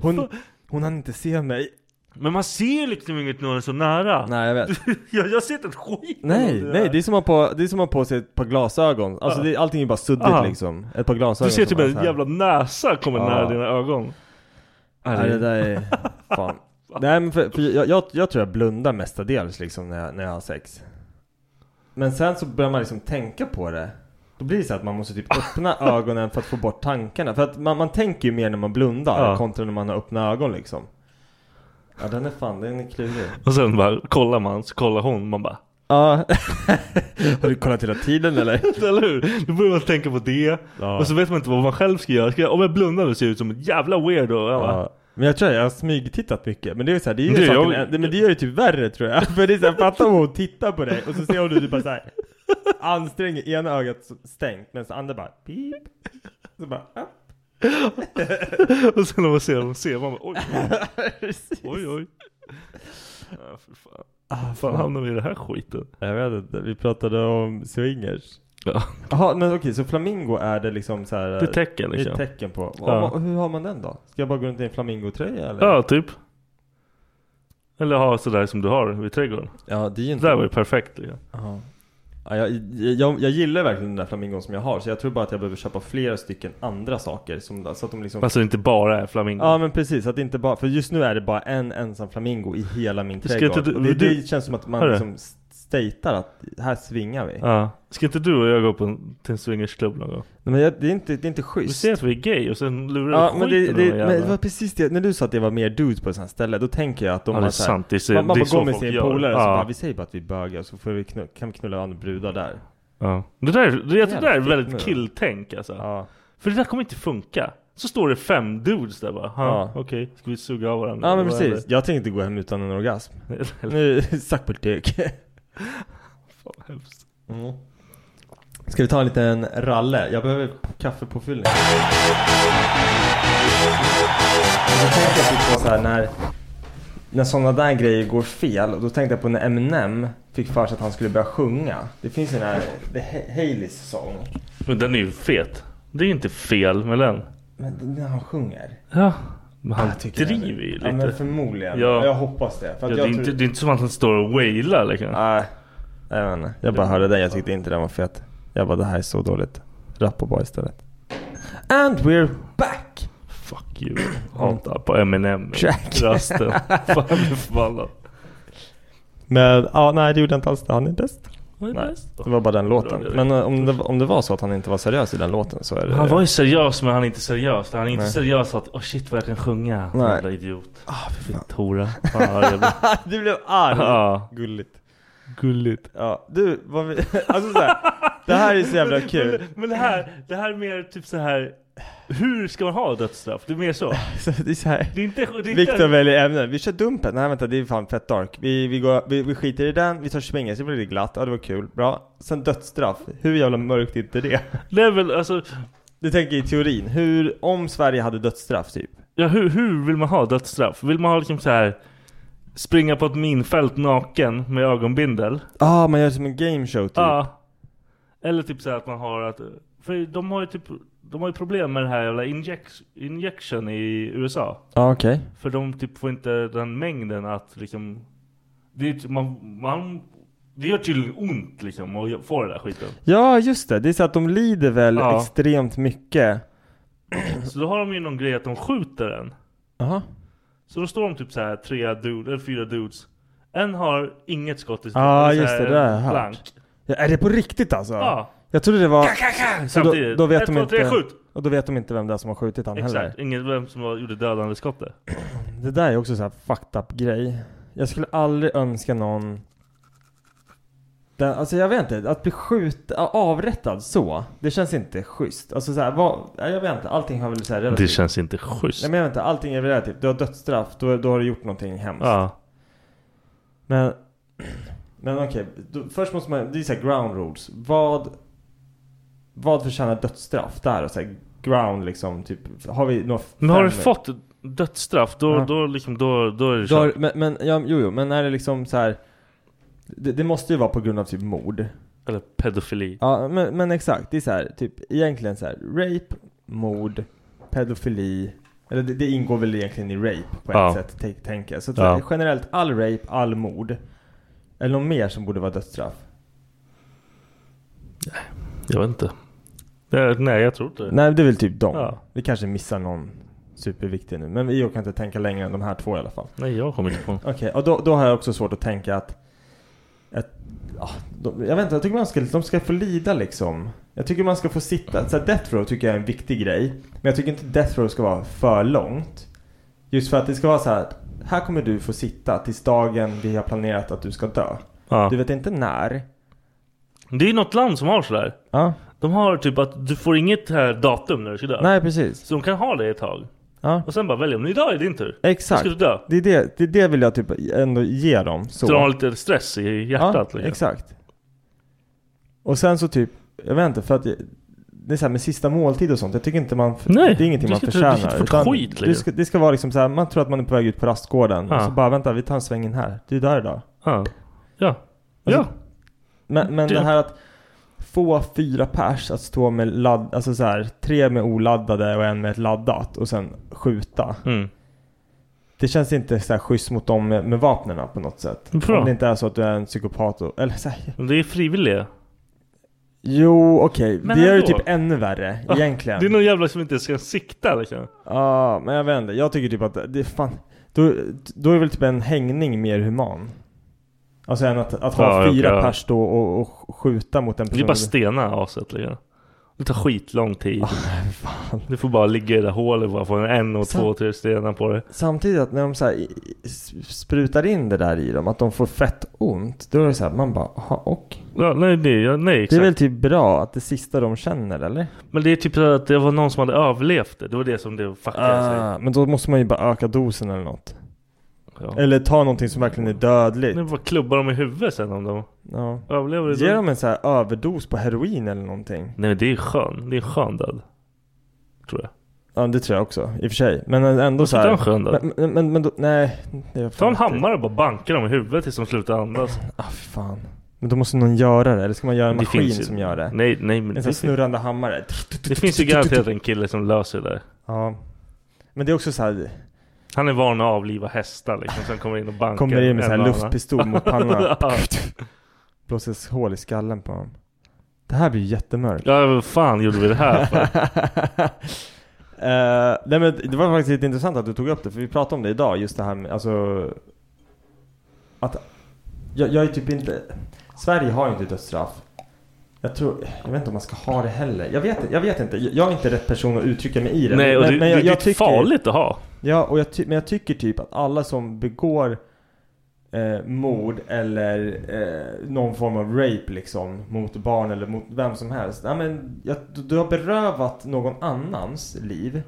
Hon, hon hann inte se mig. Men man ser liksom inget när man är så nära. Nej jag vet. Jag, jag ser inte ett skit. Nej, av nej det är som att ha på, det är som att ha på sig ett par glasögon. Alltså Ja. det, allting är bara suddigt Aha. liksom. Ett par glasögon. Du ser som typ bara en så här. jävla näsa kommer Ja. nära dina ögon. Nej det där är, fan. Nej men för, för jag, jag, jag tror jag blundar mestadels liksom när jag, när jag har sex. Men sen så börjar man liksom tänka på det. Då blir det så att man måste typ öppna ögonen för att få bort tankarna. För att man, man tänker ju mer när man blundar Ja. kontra när man har öppna ögon liksom. Ja den är fan, den är klurig. Och sen bara kollar man, så kollar hon, man bara Ja. har du kollat hela tiden eller? Eller hur? Då börjar man tänka på det Ja. Och så vet man inte vad man själv ska göra ska jag, Om jag blundar då ser jag ut som ett jävla weirdo jag bara, Ja. Men jag tror jag har smygtittat mycket, men det är ju såhär, det, är ju Det gör saken- jag- det- men det gör det typ värre tror jag. För det är såhär, fatta om hon tittar på dig och så ser hon hur du bara såhär anstränger ena ögat så- stängt medan andra bara pip. Så bara, ah. Och sen när man ser dem ser man bara, oj oj oj ja, för fan. Ah, fan hamnar vi i den här skiten? Jag vet inte, vi pratade om swingers. Ja. Jaha, men okej, så flamingo är det liksom såhär, Det är tecken liksom det är ett tecken på. Ja. Och, hur har man den då? Ska jag bara gå runt i en flamingotröja eller? Ja typ Eller ha sådär som du har vid trädgården Ja, det är ju Det där var ju perfekt liksom. Ja. Ja, jag, jag, jag gillar verkligen den där flamingon som jag har, så jag tror bara att jag behöver köpa flera stycken andra saker som, så att de liksom Alltså det inte bara är flamingo Ja men precis, att det inte bara, för just nu är det bara en ensam flamingo i hela min Du ska trädgård inte- och det, du- det känns som att man Hörru. liksom statear att här svingar vi Ja. Ska inte du och jag gå på en, till en swingersklubb någon gång? Nej, men jag, det, är inte, det är inte Du schysst ser att vi är gay och sen lurar Ja du men det, skiten ur det, de men det jävlarna. var precis det, när du sa att det var mer dudes på ett sånt här ställe, då tänker jag att de Ja, det bara är så här- sant. Det är så, Man, man det är bara så går med folk sin gör. polare och så Ja. bara, vi säger bara att vi är bögar så får vi knull, kan vi knulla andra brudar där Ja. Det där, det, jag tror det där är Jävla väldigt fittor. killtänk alltså. Ja, För det där kommer inte funka. Så står det fem dudes där bara. Ja. Ja. Okej, ska vi suga av varandra? ja men Eller vad precis, jag tänkte gå hem utan en orgasm är det? Eller- Nu, suck my dick. Fan, vad hemskt. Ska vi ta en liten ralle? Jag behöver kaffepåfyllning. Jag tänkte typ på så här när, när sådana där grejer går fel. Då tänkte jag på när Eminem fick för sig att han skulle börja sjunga. Det finns ju den här The Ha- Haileys sång. Men den är ju fet. Det är ju inte fel med den. Men det- när han sjunger. Ja. Men han Jag tycker driver det är- ju Ja men lite. förmodligen. Ja. Jag hoppas det. För Ja, att det, är jag tror... inte, det är inte som att han står och wailar liksom. Nej. Jag vet inte. Jag bara hörde den. Jag tyckte inte den var fet. Jag bara det här är så dåligt. Rappa bara istället. And we're back! Fuck you. Hatar på Eminem. Jack. Rasten. Fan blir förbannad. Men ja, nej det gjorde jag inte alls det. Han är bäst. Nej. Det var bara den låten. Bra, det är Men eh, om det, om det var så att han inte var seriös i den låten så är det... Han var ju seriös men han är inte seriös. Han är inte Eh. Nej. seriös att åh shit vad jag kan sjunga. Nej. Jävla idiot. Ah, Tora. Fan, vad arg jag blir. Du blev arg! Ja. Gulligt. Gulligt. Ja, du, vad vi... Alltså så här, Det här är så jävla kul. Men, men det, här, det här är mer typ så här. Hur ska man ha dödsstraff? Det är mer så. Så det är så här. Det är inte... Det är Viktor inte väljer ämnen. Vi kör Dumpen. Nej vänta, det är fan fett dark. Vi, vi, går, vi, vi skiter i den, vi tar swingers, det blir lite glatt. Ja det var kul. Bra. Sen dödsstraff. Hur jävla mörkt är inte det? det är väl alltså... Du tänker i teorin. Hur, om Sverige hade dödsstraff typ? Ja, hur, hur vill man ha dödsstraff? Vill man ha liksom så här Springa på ett minfält naken med ögonbindel? Ah, man gör det som en gameshow typ. Ja. Eller typ så här att man har att... För de har ju typ... De har ju problem med det här jävla inject, injection i USA. ah, okej. För de typ får inte den mängden att liksom det är, ju- typ, man, man Det gör tydligen ont liksom att få den där skiten. Ja, just det. Det är så att de lider väl Ja. extremt mycket. Så då har de ju någon grej att de skjuter den. Jaha. Så då står de typ så här tre dudes, eller fyra dudes. En har inget skott i Ja, sig, eller så Ah, just det. här Det har jag blank. hört. Ja, är det på riktigt alltså? Ja. Jag trodde det var... Så då, Samtidigt. då vet Ett, de två, inte... tre, skjut! Och då vet de inte vem det är som har skjutit han heller. Exakt, ingen vem som var- gjorde dödande skottet. Det där är också så här fucked up grej. Jag skulle aldrig önska någon... Den, alltså jag vet inte, att bli skjut, avrättad så. Det känns inte schysst. Alltså så här, vad, ja, jag vet inte, allting har väl så här relativt. Det känns inte schysst. Nej men jag vet inte, allting är väl relativt. Du har dödsstraff, då, då har du gjort någonting hemskt. Ja. Men, men okej, då- först måste man, det är så här ground rules. Vad, vad förtjänar dödsstraff där? Och så här ground liksom, typ, har vi några Men har du fem- fått dödsstraff, då, Ja. då, liksom, då, då är det Då har, kört. men, men, ja, jo, jo, men är det liksom så här. Det, det måste ju vara på grund av typ mord. Eller pedofili. Ja, men, men exakt. Det är så här, typ egentligen så här, rape, mord, pedofili. Eller det, det ingår väl egentligen i rape på ett Ja. sätt, tänk- tänker jag. Så, att Ja. så här, generellt, all rape, all mord. Eller något mer som borde vara dödsstraff? Jag vet inte. Nej, nej, jag tror inte det. Nej, det är väl typ dem. Ja. Vi kanske missar någon superviktig nu. Men jag kan inte tänka längre än de här två i alla fall. Nej, jag kommer inte på något. Okej, och då, då har jag också svårt att tänka att... att ja, de, jag vet inte, jag tycker man ska, de ska få lida liksom. Jag tycker man ska få sitta. Så här, death row tycker jag är en viktig grej. Men jag tycker inte death row ska vara för långt. Just för att det ska vara så här. att Här kommer du få sitta tills dagen vi har planerat att du ska dö. Ja. Du vet inte när. Det är något land som har sådär. Ja. De har typ att du får inget här datum när du ska dö. Nej, precis. Så de kan ha det ett tag. Ja. Och sen bara välja, men idag är din tur. Exakt. Ska du dö? Det är det, det är det vill jag typ ändå ge dem. Så de har lite stress i hjärtat. ja, liksom. exakt. Och sen så typ, jag vet inte för att jag- det är så här med sista måltid och sånt. Jag tycker inte man, Nej, det är ingenting du man ska inte- du ska förtjänar. inte få skit, liksom. det, ska, det ska vara liksom så här, man tror att man är på väg ut på rastgården. Ja. Och så bara vänta, vi tar en sväng in här. Det är där idag. Ja. Ja. Alltså, Men, men Det- det här att få fyra pers att stå med ladd, alltså så här, tre med oladdade och en med ett laddat och sen skjuta. Mm. Det känns inte så här schysst mot dem med, med vapnen på något sätt. Varför då? Om det inte är så att du är en psykopat och, eller så här, Men det är frivilliga. Jo, okej. Men Det gör det ändå. typ ännu värre, Ja, egentligen. Det är någon jävla som inte ens kan sikta liksom. Ja, men jag vet inte. Jag tycker typ att det är fan... Då, då är väl typ en hängning mer human? Alltså än att, att ha Ja, fyra okej, ja. pers då och, och skjuta mot en person. Det är bara stena aset liksom. Det tar skitlång tid. Du får bara ligga i det där hålet och bara få en, en och Så- två, tre stenar på dig. Samtidigt att när de så här i- i- sprutar in det där i dem, att de får fett ont. Då är det så här, man bara, aha, och? Ja, nej, det, ja, nej Det är exakt. väl typ bra att det sista de känner, eller? Men det är typ så att det var någon som hade överlevt det. Det var det som det fuckade sig. Ah, men då måste man ju bara öka dosen eller något. Ja. Eller ta någonting som verkligen är dödligt. Nu bara klubbar de i huvudet sen om de Ja. överlever det. Ge då. dem en så här överdos på heroin eller någonting. Nej men det är skön. Det är en skön död. Tror jag. Ja det tror jag också, i och för sig. Men ändå så Sitta en här. skön död. Men, men, men, men då, nej. det är Ta fan en inte- hammare och bara banka dem i huvudet tills de slutar andas. Ah fy fan. Men då måste någon göra det, eller ska man göra en Det maskin finns ju- som gör det? Nej, nej men det, En sån här finns- snurrande hammare. det finns ju garanterat en kille som löser det där. Ja. Men det är också så här. Han är van att avliva hästar liksom, sen kommer in och bankar kommer in en med så här och annan. luftpistol mot pannan. ja, Blåses hål i skallen på honom. Det här blir ju jättemörkt. Ja, vad fan gjorde vi det här för? Eh, nej men det var faktiskt lite intressant att du tog upp det, för vi pratade om det idag, just det här med, alltså... Att... Jag, jag är typ inte... Sverige har ju inte dödsstraff. Jag tror... Jag vet inte om man ska ha det heller. Jag vet, jag vet inte, jag jag är inte rätt person att uttrycka mig i det. Nej, och det, jag, det, jag det är farligt att ha. Ja, och jag ty- men jag tycker typ att alla som begår eh, mord Mm. eller eh, någon form av rape liksom mot barn eller mot vem som helst. Nej, men jag, du, du har berövat någon annans liv.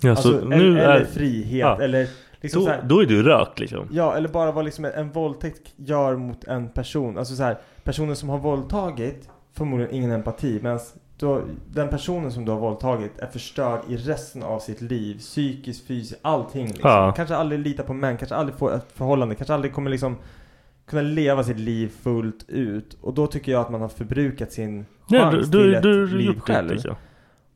Ja, Alltså, så el- nu eller är, frihet Ja. eller liksom så då, här, då är du rökt liksom. Ja, eller bara vad liksom en, en våldtäkt gör mot en person. Alltså så här, personen som har våldtagit förmodligen ingen empati medan du har, den personen som du har våldtagit är förstörd i resten av sitt liv. Psykiskt, fysiskt, allting. Liksom. Ja. Kanske aldrig lita på män, kanske aldrig få ett förhållande, kanske aldrig kommer liksom kunna leva sitt liv fullt ut. Och då tycker jag att man har förbrukat sin Nej, chans du, till du, ett du, du liv gjort det själv. liksom.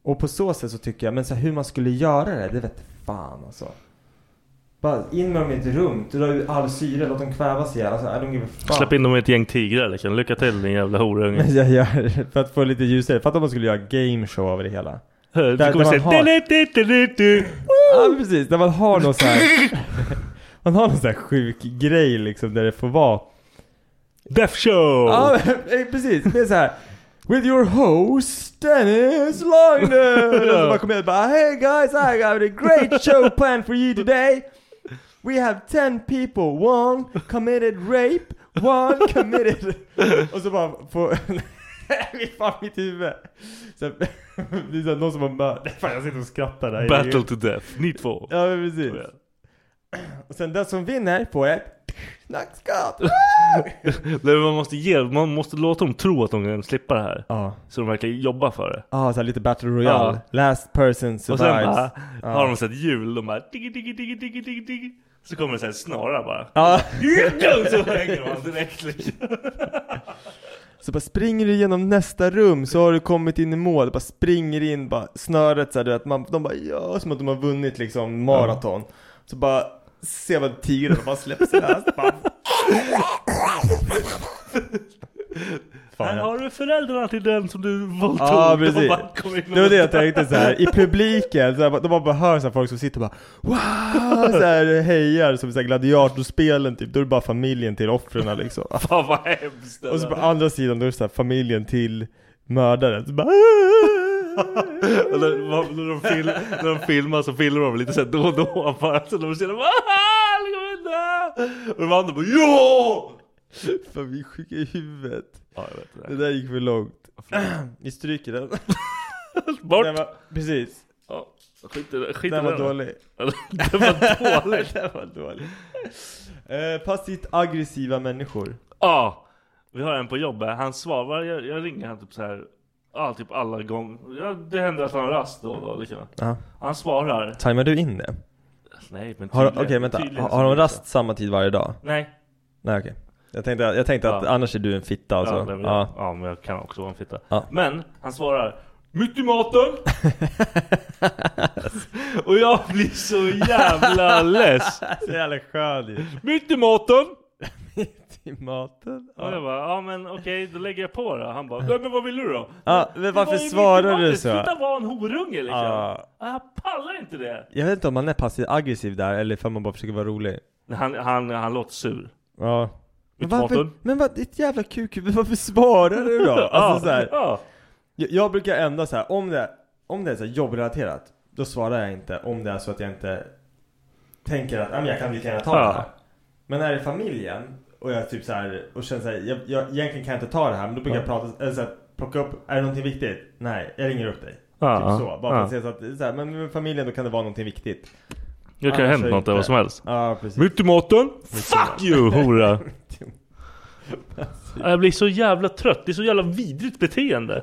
Och på så sätt så tycker jag, men så här, hur man skulle göra det, det vet fan alltså. Bara in med dem i ett rum, dra ut all syre, låt dem kvävas ihjäl. Alltså, I don't give a fuck. Släpp in dem i ett gäng tigrar liksom. Lycka till din jävla horunge. Men jag gör, för att få lite ljusare. Fatta om man skulle göra game show av det hela. Du kommer säga "Du-du-du-du-du-du." Ja men precis, när man har någon sån här Man har någon sån här sjuk grej liksom där det får vara Death show! Ja men, eh, precis, det är så här With your host Dennis Lagner! Och så bara kommer jag och bara Hey guys I got a great show planned for you today We have 10 people, one committed rape, one committed Och så bara får Fy fan mitt huvud! Så, här, det är så här, någon som har mördat... Fan jag sitter och skrattar där Battle to Oh, death. Ni två. Ja men precis. Och sen den som vinner får ett knackskott. Nej, man, måste ge, man måste låta dem tro att de kan slippa det här. Så de verkligen jobbar för det. Ja, så här lite battle royale. Last person Och sen survives. bara, Ja. har de sett hjul, de bara diggi diggi diggi diggi diggi diggi. Så kommer det så här snara bara. Ja. Så hänger man direkt liksom. Så bara springer du genom nästa rum så har du kommit in i mål. Bara springer in, bara snöret så här, du vet. Man, de bara ja, som att de har vunnit liksom maraton. Så bara ser man tigern och bara släpps lös. Bara, Här har du föräldrarna till den som du våldtog. Ja De precis. bara kommer in och- Det var det jag tänkte så här. i publiken, så här, de bara bara hör så här, folk som sitter och bara wow! Så här, hejar som i så här gladiatorspelen typ, då är det bara familjen till offren liksom. Fan vad hemskt. det Och så på där. andra sidan då är det så här, familjen till mördaren. Så bara, "Ah!" Och när, när, de fil, när de filmar så filmar de lite såhär då och då bara så de ser dem "Ah, lägg av med det!" Och de andra bara ja! Fan vi är sjuka i huvudet. Ja jag vet Det det. där gick för långt. Vi stryker den. Bort! den var, precis. Ja, skit i det. Skit i Den var det. dålig. Det var dåligt. den var dålig. Eh, passivt aggressiva människor. Ja, vi har en på jobbet. Han svarar, jag, jag ringer han typ så här. Ja, typ alla gånger. Ja, det händer att han har rast då och då. Liksom. Ja. Han svarar. Tajmar du in det? Nej, men Har, tydligen. okej vänta, tydligen har, så har blir de det rast så. samma tid varje dag? Nej. Nej okej Jag tänkte, jag tänkte att Ja. annars är du en fitta alltså Ja, Ja, nej, men, ja. ja, men jag kan också vara en fitta. Ja. Men han svarar. Mitt i maten! och jag blir så jävla less. Så jävla skön ju Mitt i maten! I maten? Och jag Ja. bara, ja men okej då lägger jag på då. Han bara, "Nej, men vad vill du då? Ja, men "Det varför var ju mitt i svarar maten. du så?" Sluta vara en horunge liksom. Ja. Jag pallar inte det. Jag vet inte om man är passiv aggressiv där eller om man bara försöker vara rolig Han, han, han låter sur. Ja Men Mitt varför, maten. men vad, ditt jävla kukhuvud, varför svarar du då? Alltså ja, såhär, ja. jag, jag brukar ändå såhär, om det, om det är så här jobbrelaterat Då svarar jag inte om det är så att jag inte tänker att, ja men jag kan lika gärna ta Ja. det här Men när det är familjen och jag typ så här och känner såhär, jag, jag, egentligen kan jag inte ta det här men då brukar jag prata, eller så här, plocka upp, är det någonting viktigt? Nej, jag ringer upp dig Ja, Typ ja, så, bara för ja. att säga så att, det är så här, men med familjen då kan det vara någonting viktigt Det kan ju ha hänt Annars något, inte. vad som helst. Ja precis Mitt i maten? Fuck you hora! Jag blir så jävla trött, det är så jävla vidrigt beteende.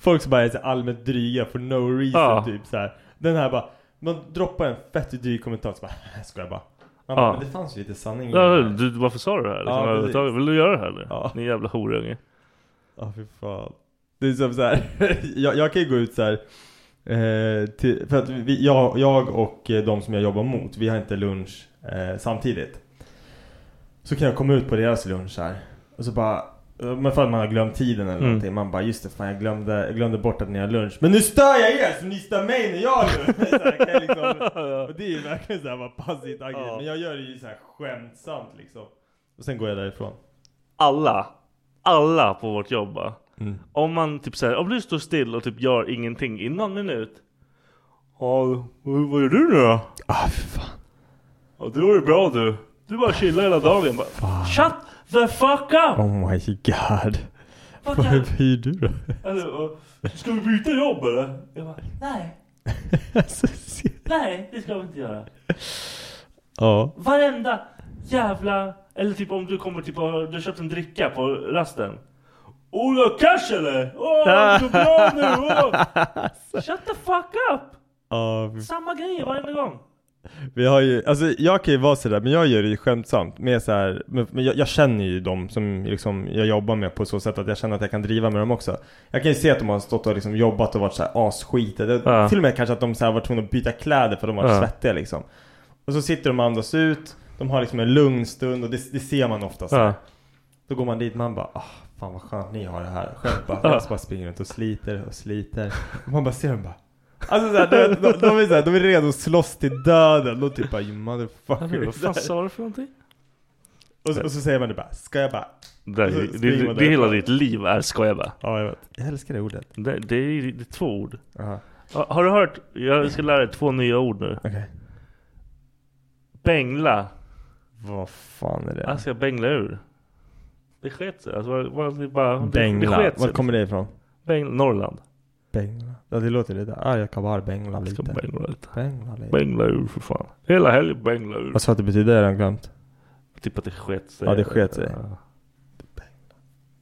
Folk som bara är så allmänt dryga for no reason Ja. typ så här. Den här bara, man droppar en fett dryg kommentar så bara, "Här ska jag bara Ja. Man bara, men det fanns ju lite sanning i Ja, det här." du, varför sa du det här? Liksom, Mm. Ja, precis. överhuvudtaget? Vill du göra det här eller? Ja. Ni jävla horunge. Ja, fy fan. Det är som så här. jag, jag kan ju gå ut så här. Eh, till, för att vi, jag, jag och eh, de som jag jobbar mot, vi har inte lunch eh, samtidigt. Så kan jag komma ut på deras lunch här. Och så bara, eh, men för att man har glömt tiden eller Mm. någonting. Man bara, just det fan jag glömde, jag glömde bort att ni har lunch. Men nu stör jag er så ni stör mig när jag har lunch. Så här, kan jag liksom, och det är ju verkligen så här bara passivt aggressivt. Ja. Men jag gör det ju så här skämtsamt liksom. Och sen går jag därifrån. alla, alla på vårt jobb va? Mm. Om man typ säger, om du står still och typ gör ingenting i någon minut Ja, vad vad gör du nu då? Ah, fy fan. Ja, du har det bra du Du bara chillar hela dagen bara Shut the fuck up! Oh my god. Fuck up. Vad hyr du då? Eller, och, Ska vi byta jobb eller? Jag bara, nej, Alltså, se- nej det ska vi inte göra ja. Varenda jävla... Eller typ om du kommer typ och du har köpt en dricka på rasten. Oh, du har cash eller? Åh, det går bra nu! åh. Shut the fuck up! Ja, vi- Samma grejer varenda gång. vi har ju, alltså jag kan ju vara sådär, men jag gör det ju skämtsamt. Med så här, men, men jag, jag känner ju dem som liksom jag jobbar med på så sätt att jag känner att jag kan driva med dem också. Jag kan ju se att de har stått och liksom jobbat och varit såhär asskitiga. Det- Ja. Till och med kanske att de så här varit tvungna att byta kläder för att de var Ja. svettiga liksom. Och så sitter de och andas ut. De har liksom en lugn stund och det, det ser man oftast. Ja. Då går man dit man bara ah, fan vad skönt ni har det här. Själv bara, Ja. jag bara springer runt och sliter och sliter. Och man bara ser dem bara Alltså såhär, de, de, de, är såhär, de är redo att slåss till döden. De typ bara you motherfucker. Vad fan sa du för någonting? Och, så- och så säger man det bara, ska jag bara? Det, Och så det, springer det, man det hela därifrån. ditt liv är skoja bara. Ja, jag vet. Jag älskar det ordet. Det, det, är, det är två ord. Aha. Ha- Har du hört? Jag ska lära dig två nya ord nu. Okej. Bängla. Vad fan är det? Alltså jag bängla ur. Det sket sig. Alltså, vad- vad- det bara, det- Det Bengla. sket sig. Var kommer det ifrån? Bängla. Norrland. Bengla. Ja, det låter lite. Ah, jag kan bara bengla Jag ska lite. bängla lite. Bengla lite. Bängla ur för fan. Hela helgen bängla ur. Vad sa du att det betyder? Jag har redan glömt. Typ att det sket sig. Ja, det sket sig. Ja.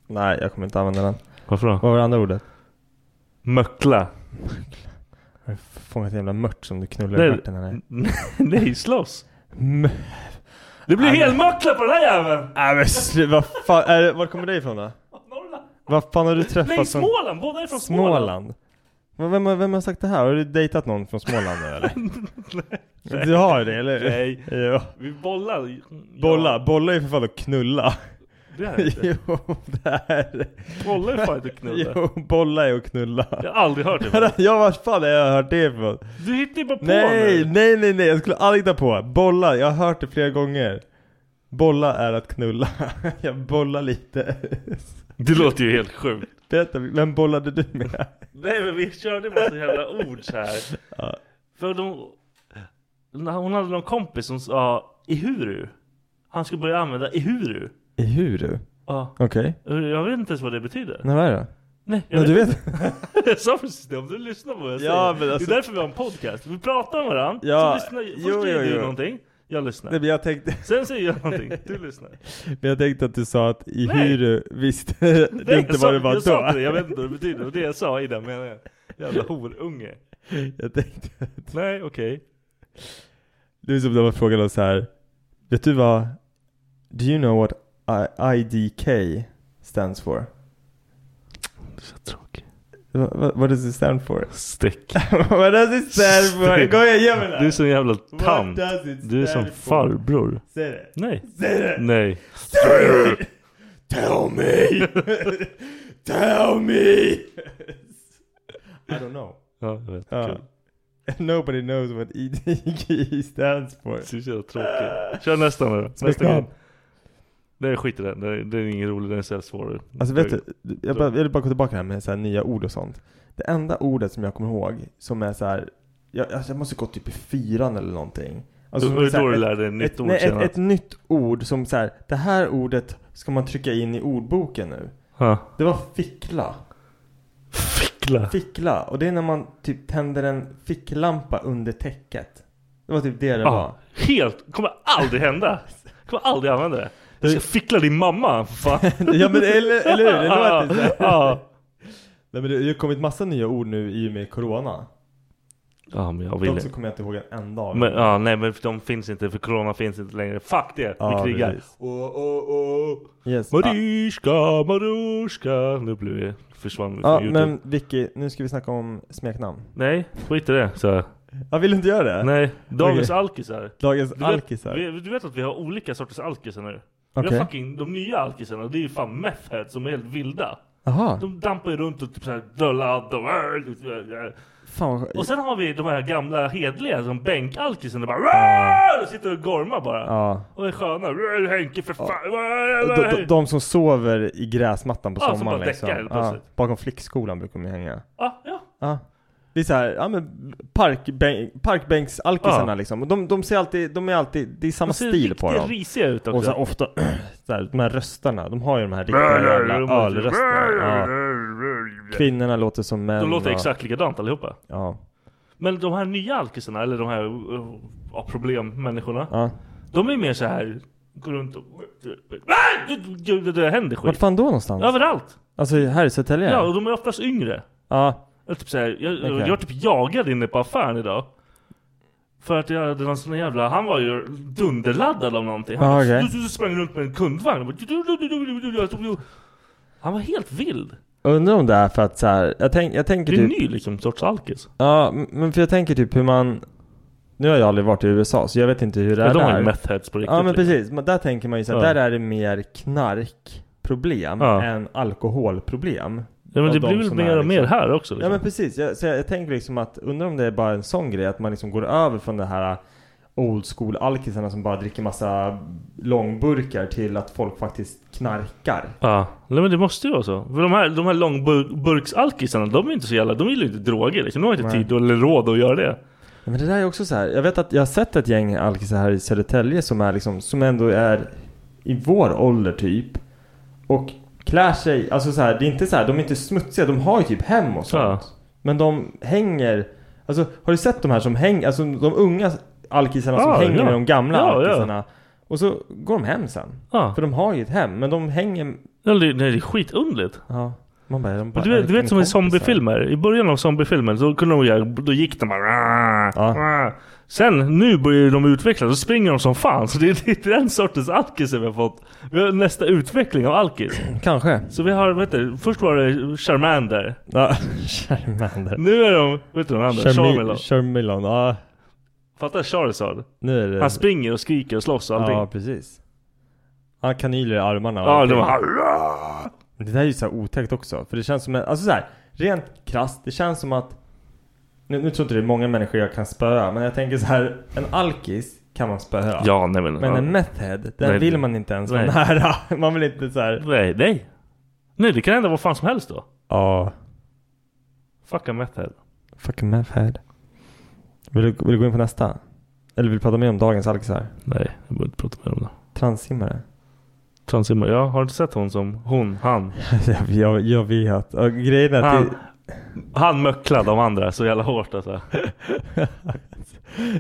Nej, jag kommer inte använda den. Varför då? Vad var det andra ordet? Möckla. Har du fångat en jävla mört som du knullar i Nej, stjärten eller? nej, slåss. M- Det blir Ja, men- helmöckla på den här jäveln! Nej men slu- vad fan, är det, var kommer det ifrån då? Norrland. Vad fan har du träffat Nej, som... Småland! Båda är från Småland. Småland? Vad- Vem, har- vem har sagt det här? Har du dejtat någon från Småland nu eller? Du har det eller? Nej. Jo. Vi bollar. Bolla, Ja, bolla är för fan att knulla. det är det inte. Jo, det är det. Bollar är fan inte knulla. Jo, bolla är att knulla. Jag har aldrig hört det. förut. Ja, vad fan har jag hört det ifrån? Du hittar ju bara på Nej, nu. nej, nej, nej, jag skulle aldrig ta på. Bolla, jag har hört det flera gånger. Bolla är att knulla. Jag bollar lite. Det låter ju helt sjukt. Berätta, vem bollade du med? Nej men vi körde en massa jävla ord så här. För de, när hon hade någon kompis som sa ihuru. Han skulle börja använda ihuru. Ihuru? Ja. Okej. Jag vet inte ens vad det betyder. Nej, vad är det? Nej, jag Ja, du vet. vet? Jag sa precis det, om du lyssnar på vad jag Ja, säger. men alltså- Det är därför vi har en podcast. Vi pratar med varandra. Ja, Så lyssnar, först jo, säger jo, du jo. någonting. Jag lyssnar. Nej, men jag tänkte, Sen säger jag någonting. Du lyssnar. men jag tänkte att du sa att ihuru visste Nej, du inte jag vad sa- det var jag sa inte då. det, jag vet inte vad det betyder. Det var det jag sa i den meningen. Jävla horunge. Jag tänkte, Nej, okej. det är som när man frågar någon så här. Vet du vad? Do you know what I- IDK stands for? Så tråkig. What, what does it stand for? Stick. What does it stand for? Stick. Kom igen, ge mig den! Du är som en jävla What tant. does it Du är som stand for? farbror. Säg det! Nej. Säg det! Nej. Tell me! Tell me! I don't know. Ja, jag vet. Ja. Kul. Nobody knows what EDG stands for. Du är så jävla tråkig. Kör nästa nu då. Nästa Smeknamn. gång. Nej, skit i den. Den den är ingen rolig. Den är så jävla svår. Alltså vet du, jag, bara, jag vill bara gå tillbaka här med så här nya ord och sånt. Det enda ordet som jag kommer ihåg som är så här, jag, alltså jag måste gå typ i fyran eller någonting. Alltså, Och som är då så här du ett- lärde dig ett nytt ett, ord nej, senare. ett, ett nytt ord som så här, det här ordet ska man trycka in i ordboken nu. Ja. Det var fickla. Fickla. Fickla, och det är när man typ tänder en ficklampa under täcket. Det var typ det det var. Ja. Helt. Kommer aldrig hända. Kommer aldrig använda det. Jag ska fickla din mamma. för Fan. ja men eller, eller hur? Det låter så här. Ja. Nej men det har ju kommit massa nya ord nu i och med Corona. Ja, men jag vill De så inte. kommer jag inte ihåg en enda av. Men, ja, nej men de finns inte för corona finns inte längre. Fuck det! Ja, vi krigar. precis. Oh, oh, oh. Yes. Ja, Mariska, Maruska. Nu blev vi försvann vi från ja Youtube. men Vicky, nu ska vi snacka om smeknamn. Nej, skit i det. Så. här. Ja, vill du inte göra det? Nej, dagens Okej. alkisar. Dagens Du vet, alkisar. Vi, du vet att vi har olika sorters alkisar nu? Vi Okej. har fucking de nya alkisarna, det är ju fan methheads som är helt vilda. Jaha. De dampar ju runt och typ såhär the loud, the world. Fan vad Och skönt. sen har vi de här gamla hedliga som bänkalkisen och bara "Rrrr!" och sitter och gormar bara. Ja. Och är sköna. "Rrrr, Henke för fan. De, de, de som sover i gräsmattan på Ja, som sommaren bara liksom. däckar helt ja, plötsligt. bakom flickskolan brukar de ju hänga. Ja, ja. Ja. Det är så här, ja men parkbänk, parkbänksalkisarna Ja. liksom. Och de, de ser alltid, de är alltid, det är samma De ser stil på riktigt dem. risiga ut också. Och så här, ofta, så här, de här rösterna, de har ju de här riktiga jävla ölrösterna. Ja. Kvinnorna låter som män. De låter och- exakt likadant allihopa. Ja. Men de här nya alkisarna, eller de här uh, ja, problemmänniskorna. ja. De är mer så här går runt och... Det, det händer Vart skit. fan då någonstans? Överallt! Alltså här i Södertälje? Ja, Ja. och de är oftast yngre. Jag, typ så här, jag, Okej. jag var typ jagad inne på affären idag. För att jag hade någon sån jävla, han var ju dunderladdad av någonting. Han Ja, bara, Ah, okej. du, du, du sprang runt med en kundvagn. och bara- Han var helt vild. Undrar om det är för att så här, jag, tänk, jag tänker Det är en typ, ny liksom sorts alkis. ja m- men för jag tänker typ hur man Nu har jag aldrig varit i USA så jag vet inte hur det Ja, är de har ju där. meth heads på riktigt, Ja men liksom. precis, men där tänker man ju så här, Ja. där är det mer knarkproblem Ja. än alkoholproblem. Ja, men Av det de blir väl som mer är och mer här också, Ja liksom. men precis, jag, så jag, jag tänker liksom att undrar om det är bara en sån grej att man liksom går över från det här old school alkisarna som bara dricker massa långburkar till att folk faktiskt knarkar. Ja, nej, men det måste ju vara så. För de här, de här långburksalkisarna, de är inte så jävla... De gillar ju inte droger liksom. De har inte Nej. tid eller råd att göra det. Ja, Men det där är också så här. Jag vet att jag har sett ett gäng alkisar här i Södertälje som är liksom, som ändå är i vår ålder typ. Och klär sig, alltså så här, det är inte så här, de är inte smutsiga, de har ju typ hem och sånt. Men de hänger, alltså har du sett de här som hänger, alltså de unga alkisarna som Ja, hänger ja. med de gamla Ja, ja. alkisarna. Och så går de hem sen. För de har ju ett hem, men de hänger... Ja, det, nej, det är skitunderligt. Ja. Man bara, de bara Men du är vet, du vet som i kompisar. zombiefilmer. I början av zombiefilmer så kunde de göra, då gick de bara... "Ah, Sen nu börjar de utvecklas, då springer de som fan. Så det är, det är den sortens alkis vi har fått. Vi har nästa utveckling av alkis. Kanske. Så vi har, vet du, först var det Charmander. Ja, Charmander. Nu är de, vet du den andra? Charmeleon. Charmelon. Charmeleon, ja. Fattar Charizard? Nu är det... Han springer och skriker och slåss och allting. Ja, precis. Han har kanyler i armarna. Ja, det var Det där är ju så här otäckt också. För det känns som en, alltså så här, rent krasst, det känns som att... Nu, nu tror inte det är många människor jag kan spöa, men jag tänker så här. En alkis kan man spöa. Ja, nej men... Men ja. en methhead, den Nej, vill det- man inte ens vara nej. nära. Man vill inte så här. Nej, nej. Nej, det kan hända vad fan som helst då. Ja, Fuck a method. fucking methhead. Vill du, vill du gå in på nästa? Eller vill du prata mer om dagens alkisar? Nej, jag behöver inte prata mer om det. Transsimmare? Transimmar. Jag har inte sett hon som... Hon, han. jag, jag, jag vet. Och grejen är att Han, det, han möcklade de andra så jävla hårt alltså.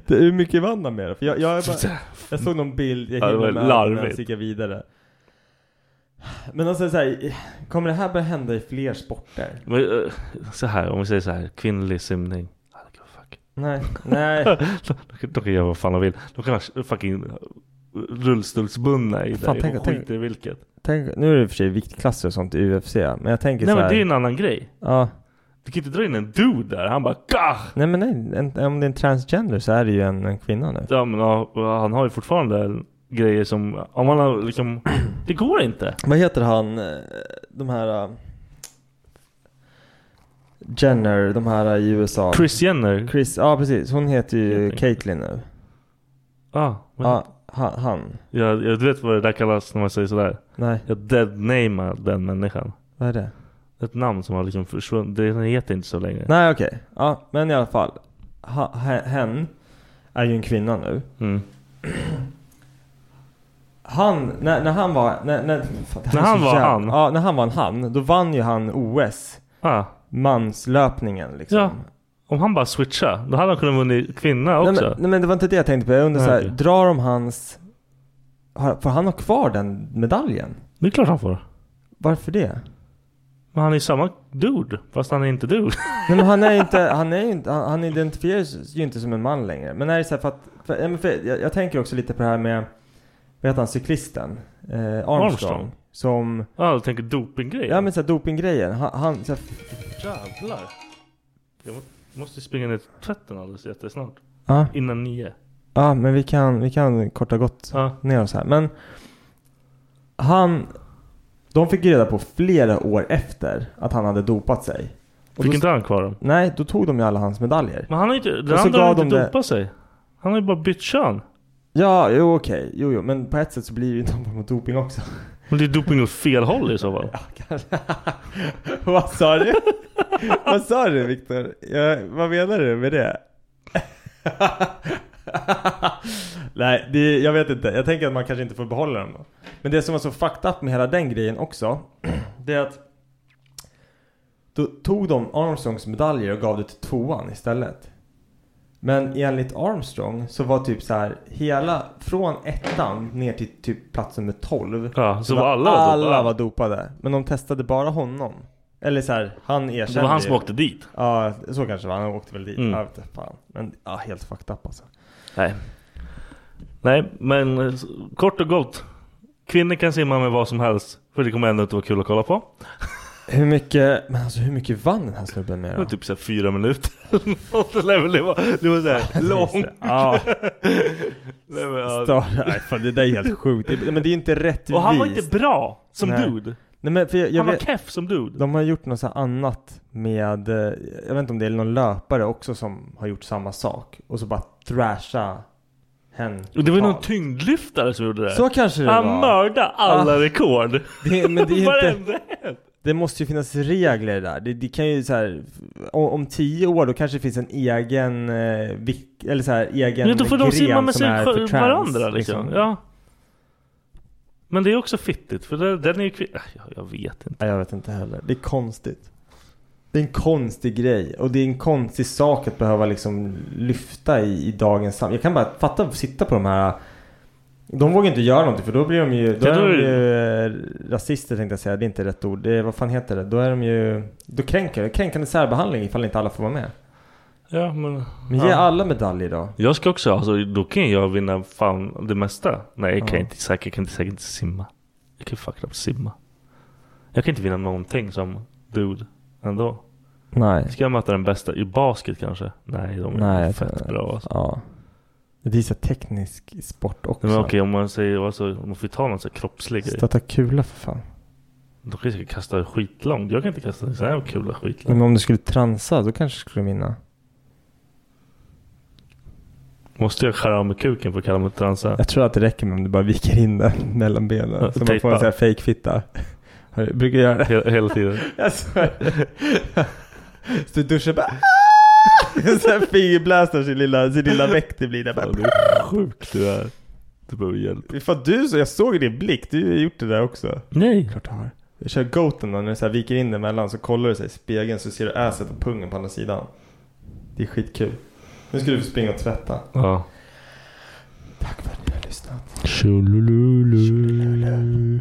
Det, hur mycket vann han med det? För jag, jag, är bara, jag såg någon bild, Ja, jag det var hinner med allt, men jag larvigt. sticker vidare. Men alltså så här, kommer det här börja hända i fler sporter? Men, eh, så här, om vi säger så här. Kvinnlig simning. Nej, nej. De kan- De kan göra vad fan de vill. De kan ha fucking rullstolsbundna i Fan, dig. tänk- Tänk, tänk- skiter i vilket. Tänk, nu är det i och för sig viktklasser och sånt i UFC, men jag tänker Nej så men här, det är ju en annan grej. ja, Du kan inte dra in en dude där. Han bara Gah! Nej men nej, en, om det är en transgender så är det ju en, en kvinna nu. Ja, men, ja, han har ju fortfarande grejer som... Om han har liksom... Det går inte. Vad heter han, eh, de här... eh, Jenner, de här eh, i USA. Chris Jenner. Chris, ja precis. Hon heter ju Jenner. Caitlyn nu. Ah, men, Ja, han. han. jag, jag, du vet vad det där kallas när man säger sådär? Nej, Jag deadnamar den människan. vad är det? Ett namn som har liksom försvunnit. Den heter inte så länge. Nej okej, ja men i alla fall. Ha, he- hen är ju en kvinna nu. Mm. Han, när, när han var, när, när, fan, det här När är så han var jävla- han? Ja, när han var en han. Då vann ju han OS. Ah, Manslöpningen liksom. ja. Om han bara switchar, då hade han kunnat vunnit kvinna nej, också. men, nej men det var inte det jag tänkte på. Jag undrar Nej, såhär, okej. drar de hans... har- Får han ha kvar den medaljen? Det är klart han får. Varför det? Men han är ju samma dude, fast han är inte dude. Nej men han är ju inte, han är ju inte, han, han identifieras ju inte som en man längre. Men är det så här för att, för, ja, men för, jag, jag tänker också lite på det här med, vad heter han, cyklisten? Eh, Armstrong, Armstrong. Som, Ja, Ah, du tänker dopinggrejer? ja men såhär dopinggrejen. Han, han så här, Jävlar. Jag må- måste springa ner till tvätten alldeles jättesnart. ja, Innan nio. ja men vi kan, vi kan korta gott Ja. ner oss här. Men han, de fick ju reda på flera år efter att han hade dopat sig. Och Fick då, inte han kvar dem? Nej, då tog de ju alla hans medaljer. Men han har ju inte... Den Och så andra har gav ju inte de det- dopat sig. Han har ju bara bytt kön. Ja, jo okej, jo jo, men på ett sätt så blir det ju någon form av doping också. Men det är doping åt fel håll i så fall. Vad sa du? vad sa du Viktor? Ja, vad menar du med det? Nej, det, jag vet inte. Jag tänker att man kanske inte får behålla dem då. Men det som var så fucked up med hela den grejen också, det är att då tog de Armstrongs medaljer och gav det till tvåan istället. Men enligt Armstrong så var typ så här hela från ettan ner till typ plats nummer 12 Ja, så var alla var alla dopade. var dopade. Men de testade bara honom. Eller så här, han erkände Det var han som ju. åkte dit. Ja, så kanske det var. Han åkte väl dit. Mm. Jag vet inte, fan. Men ja, helt fucked up alltså. Nej. Nej, men eh, s- kort och gott. Kvinnor kan simma med vad som helst. För det kommer ändå inte vara kul att kolla på. Hur mycket, men alltså hur mycket vann den här snubben med Det då? var typ såhär fyra minuter. Något level, det var, det var såhär långt. Ja. Nej, men, ja. Star, nej, fan, det där är helt sjukt. Det, men det är inte rättvist. Och han var inte bra som Nej. dude. Nej, men för jag, jag han var vet- keff som dude. De har gjort något så här annat med, eh, jag vet inte om det är någon löpare också som har gjort samma sak. Och så bara thrasha hen. Och det var ju någon totalt. tyngdlyftare som gjorde det. Så kanske det han var. mördade alla Ah. rekord. Det, men det är inte, Varenda en. det måste ju finnas regler där. Det, det kan ju så här, om, om tio år då kanske det finns en egen eh, vik, eller så här, egen Men då får de gren simma med som sig är för sjö- trans, varandra liksom. Ja. Men det är också fittigt för den, den är ju kvin- Ah, jag, jag vet inte. Nej, jag vet inte heller. Det är konstigt. Det är en konstig grej och det är en konstig sak att behöva liksom lyfta i, i dagens samhälle. Jag kan bara fatta att sitta på de här. De vågar inte göra någonting för då blir de ju, då Ja, är då de är det- ju eh, rasister tänkte jag säga. Det är inte rätt ord. Det är, vad fan heter det? Då är de ju, då kränker kränkande särbehandling ifall inte alla får vara med. Ja, men, Men ge ja. alla medalj då. Jag ska också, alltså, då kan jag vinna fan det mesta. Nej, jag kan Ja. inte säkert, jag kan inte säkert inte simma. Jag kan fucking knappt simma. Jag kan inte vinna någonting som dude ändå. Nej. Ska jag möta den bästa i basket kanske? Nej, de är Nej, fett bra alltså. Ja. Det är så här teknisk sport också. Men okej, om man säger alltså, om man får ta någon sån här kroppslig grej. Stötta kula för fan. Då kan jag säkert kasta skitlångt. Jag kan inte kasta så här kula skitlångt. Men om du skulle transa då kanske skulle du vinna. Måste jag skära av med kuken för att kalla mig transa? Jag tror att det räcker med om du bara viker in den mellan benen. Ja, Så man får tejpa. en sån här fejkfitta. Har du- Brukar du göra det? Hela, hela tiden. Jag svär. Så du duschar bara så här fingerblastar sin lilla, sin lilla väck det blir där bara. Fan, du är sjuk du är. Du behöver hjälp. Fan du så, jag såg i din blick, du har gjort det där också. Nej. Klart du har. Jag kör goaten då, när du så här viker in den mellan så kollar du sig i spegeln så ser du asset och pungen på andra sidan. Det är skitkul. Nu ska du få springa och tvätta. Ja. Tack för att ni har lyssnat. Tjolululu.